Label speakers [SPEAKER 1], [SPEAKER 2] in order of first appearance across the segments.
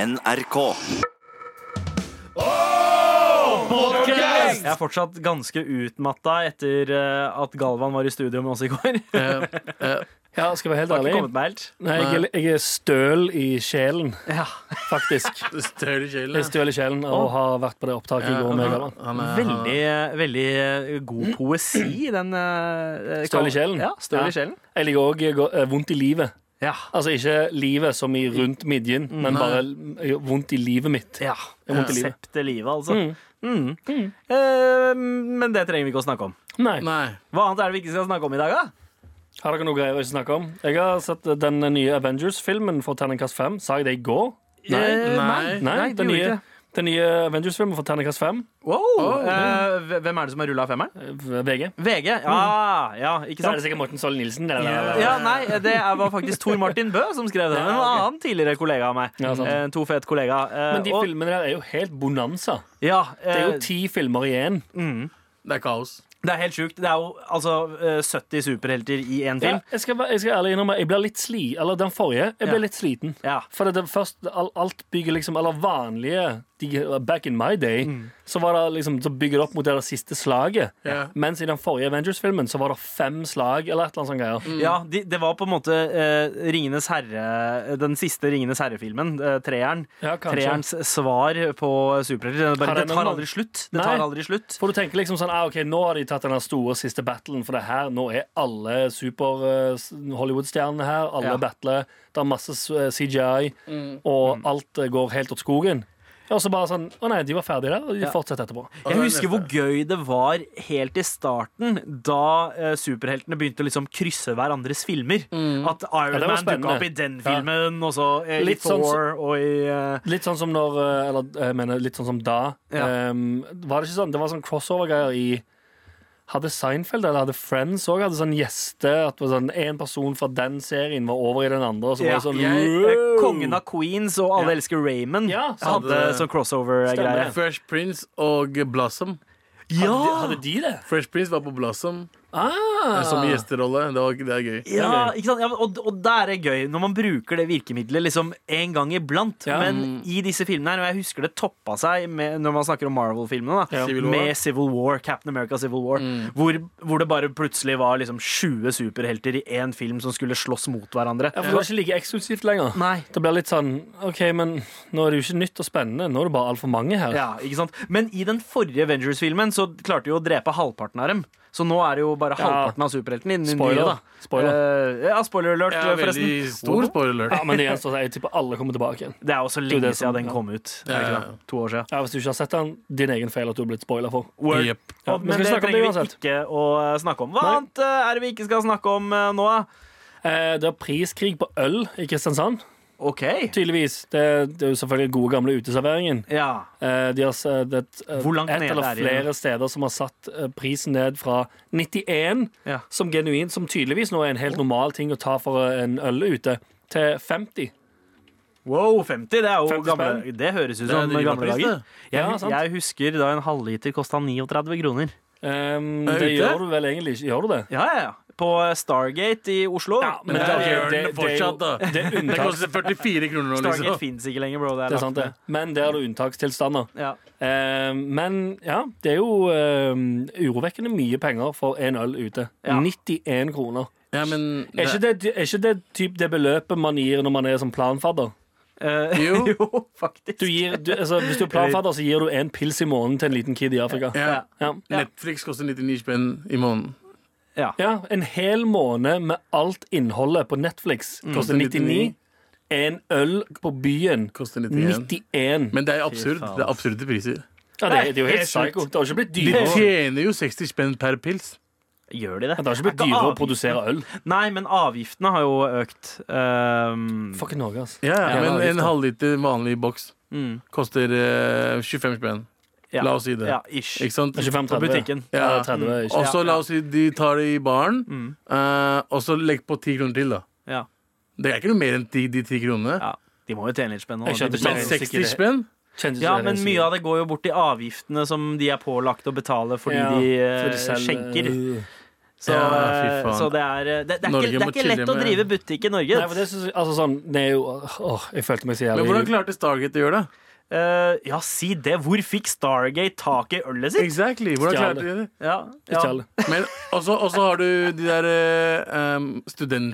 [SPEAKER 1] NRK.
[SPEAKER 2] Jeg er fortsatt ganske utmatta etter eh, at Galvan var i studio med oss i går. Jeg
[SPEAKER 3] Eh, eh, ja, skal jeg være helt
[SPEAKER 2] har ikke
[SPEAKER 3] ærlig.
[SPEAKER 2] kommet meg helt.
[SPEAKER 3] Nei, jeg, er- jeg er støl i sjelen,
[SPEAKER 2] Ja.
[SPEAKER 3] faktisk.
[SPEAKER 4] Du støl i
[SPEAKER 3] Jeg er
[SPEAKER 4] kjelen.
[SPEAKER 3] støl i sjelen og har vært på det opptaket i går med Galvan.
[SPEAKER 2] Veldig, veldig eh, god poesi i den eh, eh,
[SPEAKER 3] Støl i sjelen?
[SPEAKER 2] Ja, støl
[SPEAKER 3] Ja.
[SPEAKER 2] i sjelen.
[SPEAKER 3] Jeg liker òg vondt i livet.
[SPEAKER 2] Ja.
[SPEAKER 3] Altså ikke livet som i rundt midjen, men bare l- vondt i livet mitt.
[SPEAKER 2] Mm. ja.
[SPEAKER 3] Det er vondt i livet.
[SPEAKER 2] Konseptet livet, altså. Mm. Eh, men det trenger vi ikke å snakke om.
[SPEAKER 3] Nei.
[SPEAKER 4] Nei.
[SPEAKER 2] Hva annet er det vi ikke skal snakke om i dag, da?
[SPEAKER 3] Har dere noe greier å ikke snakke om? Jeg har sett eh, den nye Avengers-filmen for terningkast 5. Sa jeg det i går?
[SPEAKER 4] Nei.
[SPEAKER 2] Eh,
[SPEAKER 4] Nei.
[SPEAKER 3] Nei,
[SPEAKER 2] Nei, du
[SPEAKER 3] den,
[SPEAKER 2] gjorde
[SPEAKER 3] nye,
[SPEAKER 2] ikke.
[SPEAKER 3] den nye Avengers-filmen for terningkast 5.
[SPEAKER 2] Wow! Eh, hvem er det som har rulla femmeren?
[SPEAKER 3] eh, VG.
[SPEAKER 2] VG. Ja, ja, ikke
[SPEAKER 3] Da er
[SPEAKER 2] sant?
[SPEAKER 3] det sikkert Morten Soll Nilsen. Eller,
[SPEAKER 2] Ja, nei, det er- var faktisk Tor Martin Bø som skrev det. En annen tidligere kollega av meg.
[SPEAKER 3] Ja, sant.
[SPEAKER 2] En to fet kollega. Eh,
[SPEAKER 3] Men de
[SPEAKER 2] og-
[SPEAKER 3] filmene der er jo helt bonanza.
[SPEAKER 2] ja, eh,
[SPEAKER 3] Det er jo ti filmer i én.
[SPEAKER 4] Det er kaos.
[SPEAKER 2] det er helt sjukt. Det er jo altså eh, 70 superhelter i én film.
[SPEAKER 3] Ja, jeg, skal, være- jeg skal ærlig innrømme Jeg ble litt sli Eller den forrige Jeg ble
[SPEAKER 2] Ja.
[SPEAKER 3] litt sliten
[SPEAKER 2] Ja.
[SPEAKER 3] For det, det først all, Alt bygger liksom Eller vanlige de, Back in my day Så var det liksom Så bygger det opp mot det der siste slaget
[SPEAKER 4] Ja.
[SPEAKER 3] Mens i den forrige Avengers-filmen Så var det fem slag Eller et eller annet sånt greier
[SPEAKER 2] Ja, de, Det var på en måte eh, Ringenes herre den siste Ringenes herre-filmen, eh, treeren.
[SPEAKER 3] Ja, kanskje.
[SPEAKER 2] Treerens svar på superhelter. Det,
[SPEAKER 3] Har
[SPEAKER 2] bare,
[SPEAKER 3] den
[SPEAKER 2] det tar
[SPEAKER 3] noen-
[SPEAKER 2] aldri slutt. Det
[SPEAKER 3] Nei.
[SPEAKER 2] tar aldri slutt.
[SPEAKER 3] For du tenker liksom sånn ah, Ok, nå har de tatt den store siste battlen For det her Nå er alle super eh, s- Hollywood-stjernene her Alle
[SPEAKER 2] Ja. Mm.
[SPEAKER 3] battler Det er masse s- eh, CGI Og alt eh, går helt åt skogen og så bare sånn, å nei, de var ferdige der Og de fortsetter etterpå
[SPEAKER 2] Jeg husker hvor gøy det var helt i starten, da eh, superheltene begynte å liksom krysse hverandres filmer. At Iron Man
[SPEAKER 3] det var
[SPEAKER 2] dukka
[SPEAKER 3] spennende.
[SPEAKER 2] opp i den filmen, og så eh, i
[SPEAKER 3] Litt sånn
[SPEAKER 2] Thor og i eh,
[SPEAKER 3] Litt sånn som når eh, Eller jeg mener litt sånn som da
[SPEAKER 2] Ja.
[SPEAKER 3] ehm, Var det ikke sånn, det var sånn crossover-greier i Hadde Seinfeld eller hadde Friends også Hadde sånn gjeste At det var sånn, en person fra den serien var over i den andre Og så
[SPEAKER 2] ja,
[SPEAKER 3] var det sånn
[SPEAKER 2] jeg, eh,
[SPEAKER 3] wow!
[SPEAKER 2] Kongen av Queens og Alle
[SPEAKER 3] Ja.
[SPEAKER 2] elsker Raymond
[SPEAKER 3] Ja, sant.
[SPEAKER 2] hadde sånn crossover-greie.
[SPEAKER 3] Stemmer
[SPEAKER 4] Fresh Prince og Blossom.
[SPEAKER 2] Ja!
[SPEAKER 3] hadde, hadde de det?
[SPEAKER 4] Fresh Prince var på Blossom eh,
[SPEAKER 3] Ah,
[SPEAKER 4] som gjesterolle. Det, var, det er gøy.
[SPEAKER 2] Ja, ikke sant? Ja, men- og, og der er gøy, når man bruker det virkemidlet liksom en gang iblant.
[SPEAKER 3] Ja.
[SPEAKER 2] Men
[SPEAKER 4] Mm.
[SPEAKER 2] i disse filmene her, og jeg husker det toppa seg med, når man snakker om Marvel-filmene, da,
[SPEAKER 4] Ja. Civil War. Mm.
[SPEAKER 2] med Civil War, Captain America Civil War, hvor, hvor det bare plutselig var liksom 20 superhelter i én film som skulle slåss mot hverandre.
[SPEAKER 3] ja, for det var ikke like eksklusivt lenger
[SPEAKER 2] Nei.
[SPEAKER 3] Det ble litt sånn, ok, men nå er det jo ikke nytt og spennende Nå er det bare alt for mange her
[SPEAKER 2] Ja, ikke sant? Men i den forrige Avengers-filmen så klarte de jo å drepe halvparten av dem. Så nå er det jo bare
[SPEAKER 3] Ja.
[SPEAKER 2] halvparten av superheltene innen
[SPEAKER 3] Spoiler.
[SPEAKER 2] nye, da. Eh, ja, spoiler alert,
[SPEAKER 4] Ja, veldig
[SPEAKER 2] forresten.
[SPEAKER 4] stor spoiler alert.
[SPEAKER 3] Ja, men det gjenstår Jeg tipper alle kommer tilbake igjen
[SPEAKER 2] Det er jo så
[SPEAKER 3] er
[SPEAKER 2] lenge
[SPEAKER 3] det som-
[SPEAKER 2] siden den kom ut. Er det
[SPEAKER 4] Ja,
[SPEAKER 2] ikke
[SPEAKER 4] ja,
[SPEAKER 2] det? To år siden.
[SPEAKER 3] ja, Hvis du ikke har sett den, din egen feil at du har blitt spoiler for
[SPEAKER 2] Word.
[SPEAKER 4] Jep.
[SPEAKER 3] Ja,
[SPEAKER 2] Og-
[SPEAKER 3] vi
[SPEAKER 2] men
[SPEAKER 3] skal
[SPEAKER 2] det
[SPEAKER 3] snakke om det
[SPEAKER 2] trenger vi
[SPEAKER 3] uansett.
[SPEAKER 2] ikke å eh, snakke om. Hva
[SPEAKER 3] Nei.
[SPEAKER 2] annet eh, er det vi ikke skal snakke om eh, nå?
[SPEAKER 3] Eh, Det er priskrig på øl i Kristiansand.
[SPEAKER 2] OK.
[SPEAKER 3] Tydeligvis. Det, det er jo selvfølgelig gode gamle uteserveringen.
[SPEAKER 2] Ja.
[SPEAKER 3] Eh, De har, s- eh, det, eh,
[SPEAKER 2] Hvor langt
[SPEAKER 3] et
[SPEAKER 2] ned
[SPEAKER 3] eller
[SPEAKER 2] er de?
[SPEAKER 3] flere steder som har satt eh, prisen ned fra 91,
[SPEAKER 2] Ja.
[SPEAKER 3] som genuint, som tydeligvis nå er en helt normal ting å ta for eh, en øl ute, til 50.
[SPEAKER 2] Wow, 50, det er jo
[SPEAKER 3] 50
[SPEAKER 2] gamle
[SPEAKER 3] spenn.
[SPEAKER 2] Det høres ut
[SPEAKER 4] Det er
[SPEAKER 2] som
[SPEAKER 4] dyre
[SPEAKER 2] gamle
[SPEAKER 4] pris,
[SPEAKER 2] dager.
[SPEAKER 4] det.
[SPEAKER 2] Jeg,
[SPEAKER 3] Ja, sant.
[SPEAKER 2] jeg husker da en halvliter kosta 39 kroner.
[SPEAKER 3] Um,
[SPEAKER 4] Er
[SPEAKER 3] det
[SPEAKER 4] ute?
[SPEAKER 3] gjør du vel egentlig ikke? Gjør du det?
[SPEAKER 2] Ja, ja, ja. På eh, Stargate i Oslo. Eh,
[SPEAKER 3] men
[SPEAKER 4] det
[SPEAKER 3] det,
[SPEAKER 4] gjør
[SPEAKER 3] er-
[SPEAKER 4] den
[SPEAKER 3] det, det, er jo-
[SPEAKER 4] fortsatt, da.
[SPEAKER 3] det er
[SPEAKER 4] Det
[SPEAKER 3] unntakstilstander.
[SPEAKER 4] koster 44 kroner nå,
[SPEAKER 2] Stargate
[SPEAKER 4] liksom.
[SPEAKER 2] fins ikke lenger, bro. Det er
[SPEAKER 3] Det er sant, det.
[SPEAKER 2] lagt
[SPEAKER 3] Men det er det unntakstilstander.
[SPEAKER 2] ned. Ja.
[SPEAKER 3] Eh, men ja, det er jo eh, urovekkende mye penger for en øl ute.
[SPEAKER 2] Ja.
[SPEAKER 3] 91 kroner.
[SPEAKER 4] Ja, men
[SPEAKER 3] Er ikke det, er ikke det typ det beløpet man gir når man er som planfadder?
[SPEAKER 2] Eh,
[SPEAKER 4] Jo.
[SPEAKER 2] jo, faktisk.
[SPEAKER 3] Du gir, du, altså, hvis du er planfadder, så gir du en pils i måneden til en liten kid i Afrika.
[SPEAKER 4] ja.
[SPEAKER 3] Ja.
[SPEAKER 4] Netflix koster 99 spenn i måneden.
[SPEAKER 2] Ja.
[SPEAKER 3] ja, En hel måned med alt innholdet på Netflix koster 99. En øl på byen
[SPEAKER 4] Koster 91.
[SPEAKER 3] 91.
[SPEAKER 4] Men det er absurd.
[SPEAKER 2] faen.
[SPEAKER 4] Det er absurde priser.
[SPEAKER 3] Ja, det, er- det er jo helt
[SPEAKER 2] Helt sjukt.
[SPEAKER 3] psyko. Det har ikke blitt
[SPEAKER 4] De
[SPEAKER 3] dyrere,
[SPEAKER 4] tjener jo 60 spenn per pils.
[SPEAKER 2] Gjør de det?
[SPEAKER 3] det har ikke blitt
[SPEAKER 2] Er ikke
[SPEAKER 3] dyrere å
[SPEAKER 2] avgiftene-
[SPEAKER 3] produsere øl.
[SPEAKER 2] Nei, men avgiftene har jo økt. Um,
[SPEAKER 3] Fucking Norge, altså.
[SPEAKER 4] Ja, ja,
[SPEAKER 3] Ja,
[SPEAKER 4] men
[SPEAKER 3] avgift,
[SPEAKER 4] en
[SPEAKER 3] da.
[SPEAKER 4] halvliter vanlig boks
[SPEAKER 2] Mm.
[SPEAKER 4] koster eh, 25 spenn.
[SPEAKER 2] ja.
[SPEAKER 4] La oss si det.
[SPEAKER 2] Ja, ish.
[SPEAKER 4] Ikke sant?
[SPEAKER 3] 25,
[SPEAKER 2] På
[SPEAKER 3] 30.
[SPEAKER 2] butikken.
[SPEAKER 3] Ja, mm.
[SPEAKER 4] Ja.
[SPEAKER 3] 30 er ikke
[SPEAKER 4] Og så la oss si de tar det i baren, eh, og så legg på 10 kroner til, da.
[SPEAKER 2] Mm, Ja.
[SPEAKER 4] Det er ikke noe mer enn de, de 10 kronene.
[SPEAKER 2] Ja, de må jo tjene litt spenn. nå.
[SPEAKER 3] Jeg skjønte
[SPEAKER 2] De
[SPEAKER 3] ikke
[SPEAKER 4] Men
[SPEAKER 2] betaler-
[SPEAKER 3] det.
[SPEAKER 4] 60 spenn?
[SPEAKER 3] Kjente ikke
[SPEAKER 2] Ja,
[SPEAKER 3] det
[SPEAKER 2] men
[SPEAKER 3] jeg
[SPEAKER 2] mye
[SPEAKER 3] sier.
[SPEAKER 2] av det går jo bort i avgiftene som de er pålagt å betale fordi
[SPEAKER 3] Ja,
[SPEAKER 2] de,
[SPEAKER 3] for
[SPEAKER 2] eh,
[SPEAKER 3] de selv-
[SPEAKER 2] skjenker.
[SPEAKER 3] Øh.
[SPEAKER 2] Så, eh,
[SPEAKER 4] Ja, fy faen.
[SPEAKER 2] så det er det, det er
[SPEAKER 4] Norge
[SPEAKER 2] ikke, det
[SPEAKER 4] må
[SPEAKER 2] er ikke
[SPEAKER 4] chille
[SPEAKER 2] lett å
[SPEAKER 4] med-
[SPEAKER 2] drive butikk i Norge.
[SPEAKER 3] Nei, for det synes jeg, altså sånn, det er jo åh, Jeg følte meg så
[SPEAKER 4] Men
[SPEAKER 3] jævlig
[SPEAKER 4] hvordan klarte Stargate å gjøre det?
[SPEAKER 2] Eh, ja, si det. Hvor fikk Stargate tak i ølet sitt?
[SPEAKER 4] Exactly, hvordan
[SPEAKER 3] Stjal
[SPEAKER 4] klarte de det?
[SPEAKER 2] Ja,
[SPEAKER 3] Ikke
[SPEAKER 2] ja.
[SPEAKER 3] alle.
[SPEAKER 4] Men også, også har du de der eh, em,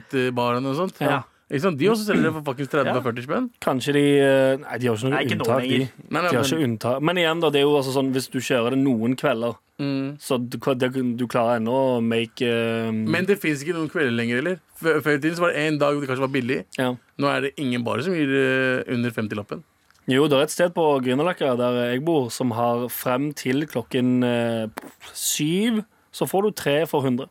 [SPEAKER 4] studentbarene og sånt.
[SPEAKER 2] Ja.
[SPEAKER 4] Ikke sant? De også selger det for fuckings 30
[SPEAKER 2] Ja.
[SPEAKER 4] og 40 spenn.
[SPEAKER 3] Kanskje de eh, Nei, de har ikke noe
[SPEAKER 2] Nei, ikke nå
[SPEAKER 3] unntak.
[SPEAKER 2] lenger.
[SPEAKER 3] De,
[SPEAKER 4] Nei,
[SPEAKER 3] de
[SPEAKER 4] nei,
[SPEAKER 3] har
[SPEAKER 4] men-
[SPEAKER 3] ikke unntak. Men igjen, da, det er jo altså sånn hvis du kjører det noen kvelder,
[SPEAKER 4] Mm.
[SPEAKER 3] så du, det- du klarer ennå å make eh,
[SPEAKER 4] Men det fins ikke noen kvelder lenger heller. Før før i tiden så var det én dag hvor det kanskje var billig.
[SPEAKER 3] ja.
[SPEAKER 4] Nå er det ingen barer som gir eh, under 50-lappen.
[SPEAKER 3] Jo, det er et sted på Grünerløkka, der jeg bor, som har frem til klokken eh, syv, så får du tre for 100.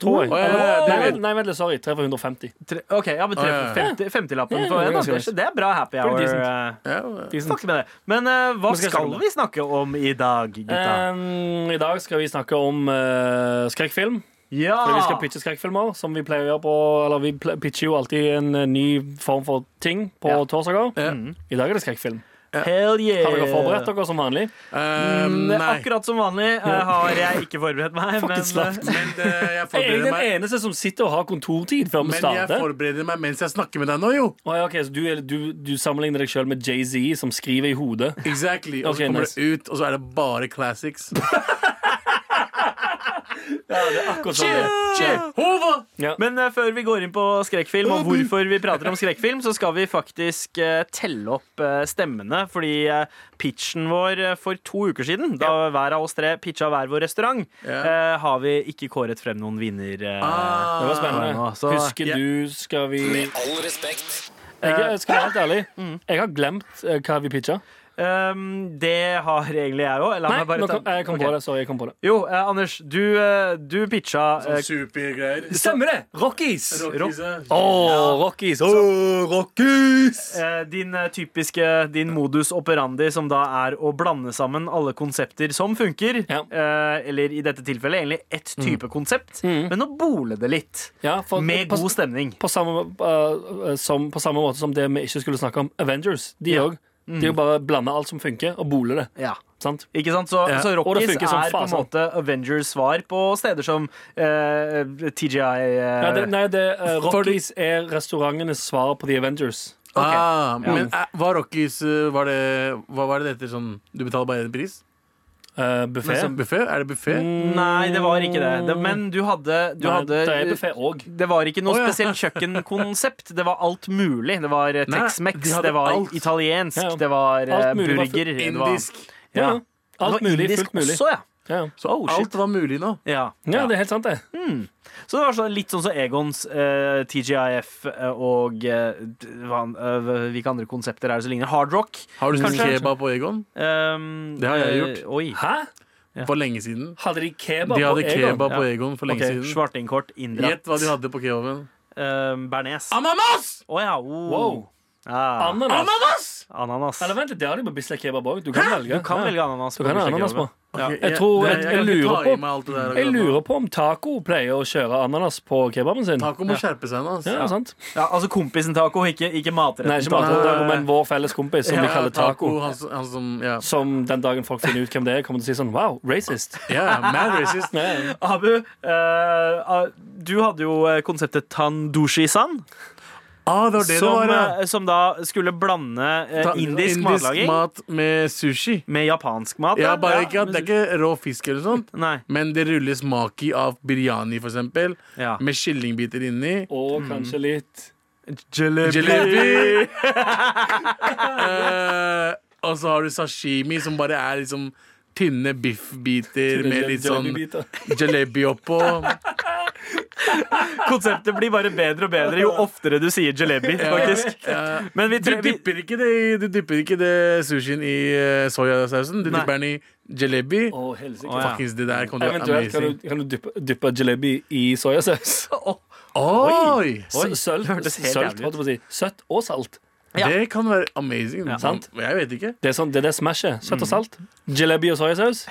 [SPEAKER 3] Tror jeg.
[SPEAKER 4] Å, ja, ja, ja, det
[SPEAKER 3] nei,
[SPEAKER 4] vet-
[SPEAKER 3] vent- nei, vent litt, sorry. Tre for 150.
[SPEAKER 2] Tre, ok, ja, men tre,
[SPEAKER 4] Ja, ja, ja.
[SPEAKER 2] 50 50-lappen
[SPEAKER 3] Ja,
[SPEAKER 2] for
[SPEAKER 3] det er
[SPEAKER 2] en. da.
[SPEAKER 3] ganske nice.
[SPEAKER 2] Det er bra happy
[SPEAKER 3] Pretty
[SPEAKER 2] hour.
[SPEAKER 3] decent.
[SPEAKER 2] eh,
[SPEAKER 4] Ja,
[SPEAKER 3] Decent.
[SPEAKER 2] Fuck med det. Men eh, hva
[SPEAKER 3] Men skal jeg
[SPEAKER 2] skal
[SPEAKER 3] snakke om
[SPEAKER 2] vi snakke om i dag,
[SPEAKER 3] Eh,
[SPEAKER 2] gutta?
[SPEAKER 3] Em, Ehm, I dag skal vi snakke om eh, skrekkfilm.
[SPEAKER 2] ja!
[SPEAKER 4] Ah.
[SPEAKER 3] Fordi vi skal pitche skrekkfilmer, som vi pleier å gjøre på Eller vi ple- pitcher jo alltid en eh, ny form for ting på
[SPEAKER 2] Ja.
[SPEAKER 3] torsdager.
[SPEAKER 4] Ja.
[SPEAKER 3] I dag er det skrekkfilm.
[SPEAKER 2] Hell yeah!
[SPEAKER 3] Har dere forberedt dere som vanlig?
[SPEAKER 4] Eh,
[SPEAKER 2] Mm,
[SPEAKER 4] nei.
[SPEAKER 2] Akkurat som vanlig eh, har jeg ikke forberedt meg.
[SPEAKER 3] Fucking
[SPEAKER 2] men,
[SPEAKER 3] slapt.
[SPEAKER 4] Men eh, jeg
[SPEAKER 3] Er jeg
[SPEAKER 4] forbereder
[SPEAKER 3] den
[SPEAKER 4] meg.
[SPEAKER 3] eneste som sitter og har kontortid før vi
[SPEAKER 4] Men jeg
[SPEAKER 3] starter?
[SPEAKER 4] forbereder meg mens jeg snakker med deg nå, jo.
[SPEAKER 3] Å ja, ok, så du, er, du, du sammenligner deg sjøl med Jay-Z, som skriver i hodet.
[SPEAKER 4] Exactly. Og
[SPEAKER 3] Ok,
[SPEAKER 4] så kommer
[SPEAKER 3] nice.
[SPEAKER 4] det ut, og så er det bare classics.
[SPEAKER 3] Akkurat sånn det er.
[SPEAKER 4] Hova!
[SPEAKER 3] Ja.
[SPEAKER 2] men eh, før vi går inn på skrekkfilm og hvorfor vi prater om skrekkfilm, så skal vi faktisk eh, telle opp eh, stemmene. Fordi eh, pitchen vår eh, for to uker siden, da hver av oss tre pitcha hver vår restaurant,
[SPEAKER 4] Ja.
[SPEAKER 2] eh, har vi ikke kåret frem noen vinner. eh,
[SPEAKER 4] Ah.
[SPEAKER 3] Det var
[SPEAKER 2] nå,
[SPEAKER 3] spennende.
[SPEAKER 2] så-
[SPEAKER 3] Husker
[SPEAKER 4] Ja.
[SPEAKER 3] du Skal vi
[SPEAKER 1] Med all respekt.
[SPEAKER 3] Jeg jeg skal være helt ærlig. Jeg har glemt eh, hva vi pitcha.
[SPEAKER 2] Um, det har egentlig jeg òg. La
[SPEAKER 3] Nei,
[SPEAKER 2] meg bare
[SPEAKER 3] nå
[SPEAKER 2] ta
[SPEAKER 3] kom, eh, jeg kom
[SPEAKER 2] Ok.
[SPEAKER 3] på det. Sorry, jeg kom på det.
[SPEAKER 2] Jo, eh, Anders, du, eh, du pitcha
[SPEAKER 3] Sånn
[SPEAKER 2] eh,
[SPEAKER 4] Supergreier.
[SPEAKER 3] Stemmer det! Rockies!
[SPEAKER 4] Rockies, eh. ja.
[SPEAKER 3] Å, Rockies! Å, Rockies!
[SPEAKER 2] eh, din eh, typiske din modus operandi, som da er å blande sammen alle konsepter som funker.
[SPEAKER 3] Ja.
[SPEAKER 2] eh, eller i dette tilfellet egentlig ett type konsept, men å bole det litt.
[SPEAKER 3] Ja, for,
[SPEAKER 2] Med
[SPEAKER 3] Mm. på,
[SPEAKER 2] god stemning.
[SPEAKER 3] på, samme, eh, som, på samme måte som det vi ikke skulle snakke om Avengers. De
[SPEAKER 2] Ja.
[SPEAKER 3] òg. De jo bare blander alt som funker, og boler det.
[SPEAKER 2] Ja.
[SPEAKER 3] Sant?
[SPEAKER 2] Ikke sant? Så,
[SPEAKER 4] Ja.
[SPEAKER 2] så
[SPEAKER 3] Og det
[SPEAKER 2] Rockies
[SPEAKER 3] funker som sånn.
[SPEAKER 2] er på en
[SPEAKER 3] fasen.
[SPEAKER 2] måte Avengers svar på steder som eh, TGI eh,
[SPEAKER 3] Nei, det, nei det, eh, Rockies er restaurantenes svar på The Avengers.
[SPEAKER 4] Ah, Men eh, var Rockies eh, var det, Hva var det det heter sånn Du betaler bare én pris?
[SPEAKER 3] Uh, Buffé.
[SPEAKER 4] Sånn buffé? Er det buffé?
[SPEAKER 3] Mm,
[SPEAKER 2] Nei, det var ikke det. det men du hadde, du hadde
[SPEAKER 3] Det er buffé òg.
[SPEAKER 2] Det var ikke noe
[SPEAKER 4] Å, ja.
[SPEAKER 2] spesielt kjøkkenkonsept. Det var alt mulig. Det var eh,
[SPEAKER 4] Nei, de
[SPEAKER 2] Tex-Mex,
[SPEAKER 4] hadde
[SPEAKER 2] det var
[SPEAKER 4] alt.
[SPEAKER 2] italiensk,
[SPEAKER 3] Ja, ja.
[SPEAKER 2] det var eh,
[SPEAKER 3] Alt mulig var
[SPEAKER 2] burger det var-
[SPEAKER 4] Indisk.
[SPEAKER 2] Ja.
[SPEAKER 3] Ja. Alt
[SPEAKER 2] det var
[SPEAKER 3] mulig,
[SPEAKER 2] indisk
[SPEAKER 3] fullt mulig.
[SPEAKER 2] Også, ja.
[SPEAKER 3] Ja.
[SPEAKER 4] Så
[SPEAKER 2] Oh, shit.
[SPEAKER 4] alt var mulig nå.
[SPEAKER 2] Ja.
[SPEAKER 3] ja, det er helt sant, det.
[SPEAKER 2] Så det var så, litt sånn som Egons, eh, TGIF eh, og eh, d- hva, an- eh, Hvilke andre konsepter er det som ligner? Hardrock.
[SPEAKER 4] Har du spist
[SPEAKER 2] Kanskje-
[SPEAKER 4] kebab på Egon?
[SPEAKER 2] Um,
[SPEAKER 4] Det har jeg
[SPEAKER 2] eh, oi.
[SPEAKER 3] Hæ?
[SPEAKER 4] For lenge siden.
[SPEAKER 3] Hadde de kebab
[SPEAKER 4] De hadde
[SPEAKER 3] på Egon?
[SPEAKER 4] kebab på
[SPEAKER 2] Ja.
[SPEAKER 4] Egon for lenge
[SPEAKER 3] Ok,
[SPEAKER 4] siden.
[SPEAKER 2] Svartingkort, Indra,
[SPEAKER 4] Gjett hva de hadde på kebaben.
[SPEAKER 2] um, bearnés. Å
[SPEAKER 4] Ananas!
[SPEAKER 2] ja. Oh.
[SPEAKER 3] Ah. Wow.
[SPEAKER 2] Ja.
[SPEAKER 3] Ananas?
[SPEAKER 4] Ananas!
[SPEAKER 2] Ananas.
[SPEAKER 3] Eller vent litt, det har de på Bislett kebab òg. Du kan velge.
[SPEAKER 2] Du kan
[SPEAKER 3] Ja.
[SPEAKER 2] velge ananas.
[SPEAKER 3] Du kan ha
[SPEAKER 2] bursdagsgave.
[SPEAKER 3] ananas på.
[SPEAKER 2] Ja.
[SPEAKER 4] Ok,
[SPEAKER 3] Jeg tror-
[SPEAKER 4] det-
[SPEAKER 3] jeg-
[SPEAKER 4] kan
[SPEAKER 3] jeg
[SPEAKER 4] ikke
[SPEAKER 3] lurer
[SPEAKER 4] ta i
[SPEAKER 3] på-
[SPEAKER 4] meg alt det der
[SPEAKER 3] Jeg
[SPEAKER 4] akkurat nå.
[SPEAKER 3] lurer på om taco pleier å kjøre ananas på kebaben sin.
[SPEAKER 4] Taco må skjerpe seg nå. ass.
[SPEAKER 3] Ja, sant?
[SPEAKER 2] Ja, altså kompisen taco, ikke, ikke matretten.
[SPEAKER 3] Nei, ikke bare
[SPEAKER 2] taco.
[SPEAKER 3] taco, men vår felles kompis som vi
[SPEAKER 4] Ja,
[SPEAKER 3] kaller taco.
[SPEAKER 4] Han, som- han som Ja,
[SPEAKER 3] Som den dagen folk finner ut hvem det er, kommer til å si sånn wow, racist.
[SPEAKER 4] ja mad racist.
[SPEAKER 3] Ja.
[SPEAKER 2] Abu, eh, du hadde jo eh, konseptet tandushi-san,
[SPEAKER 4] Ah, det var det det
[SPEAKER 2] som,
[SPEAKER 4] var, ja.
[SPEAKER 2] eh, som da skulle blande eh,
[SPEAKER 4] Ta-
[SPEAKER 2] indisk, matlaging
[SPEAKER 4] mat med sushi.
[SPEAKER 2] med japansk mat. da.
[SPEAKER 4] Ja, bare ikke at
[SPEAKER 2] men-
[SPEAKER 4] Det er ikke rå fisk eller sånt,
[SPEAKER 2] Nei.
[SPEAKER 4] men det rulles maki av biryani, for eksempel.
[SPEAKER 2] Ja.
[SPEAKER 4] Med kyllingbiter inni.
[SPEAKER 3] Og
[SPEAKER 2] Mm.
[SPEAKER 3] kanskje litt
[SPEAKER 4] Jalebi! Eh, og så har du sashimi, som bare er liksom tynne biffbiter med litt sånn
[SPEAKER 3] Jollibiter.
[SPEAKER 4] jalebi oppå.
[SPEAKER 2] Konseptet blir bare bedre og bedre jo oftere du sier jalebi, faktisk.
[SPEAKER 4] Ja.
[SPEAKER 2] Men vi,
[SPEAKER 4] Du
[SPEAKER 2] tre, vi
[SPEAKER 4] dypper ikke det, i- du dypper ikke det sushien i eh, soyasausen. Du
[SPEAKER 2] Nei.
[SPEAKER 4] dypper den i jalebi.
[SPEAKER 3] Å, helsike.
[SPEAKER 2] Å, ja.
[SPEAKER 4] Fuckings, det der kom til å være
[SPEAKER 3] Eventuelt kan
[SPEAKER 4] amazing.
[SPEAKER 3] du, kan du dyppe, dyppe jalebi i soyasaus.
[SPEAKER 4] Oi!
[SPEAKER 3] Sølt, sølt,
[SPEAKER 2] hørtes helt jævlig ut.
[SPEAKER 3] holdt jeg på å si. Søtt og salt.
[SPEAKER 2] Ja.
[SPEAKER 4] Det kan være amazing.
[SPEAKER 2] Ja.
[SPEAKER 4] Sant? Jeg vet ikke.
[SPEAKER 3] Det er sånn, det er det smashet. Søtt og salt. Jalebi og soyasaus.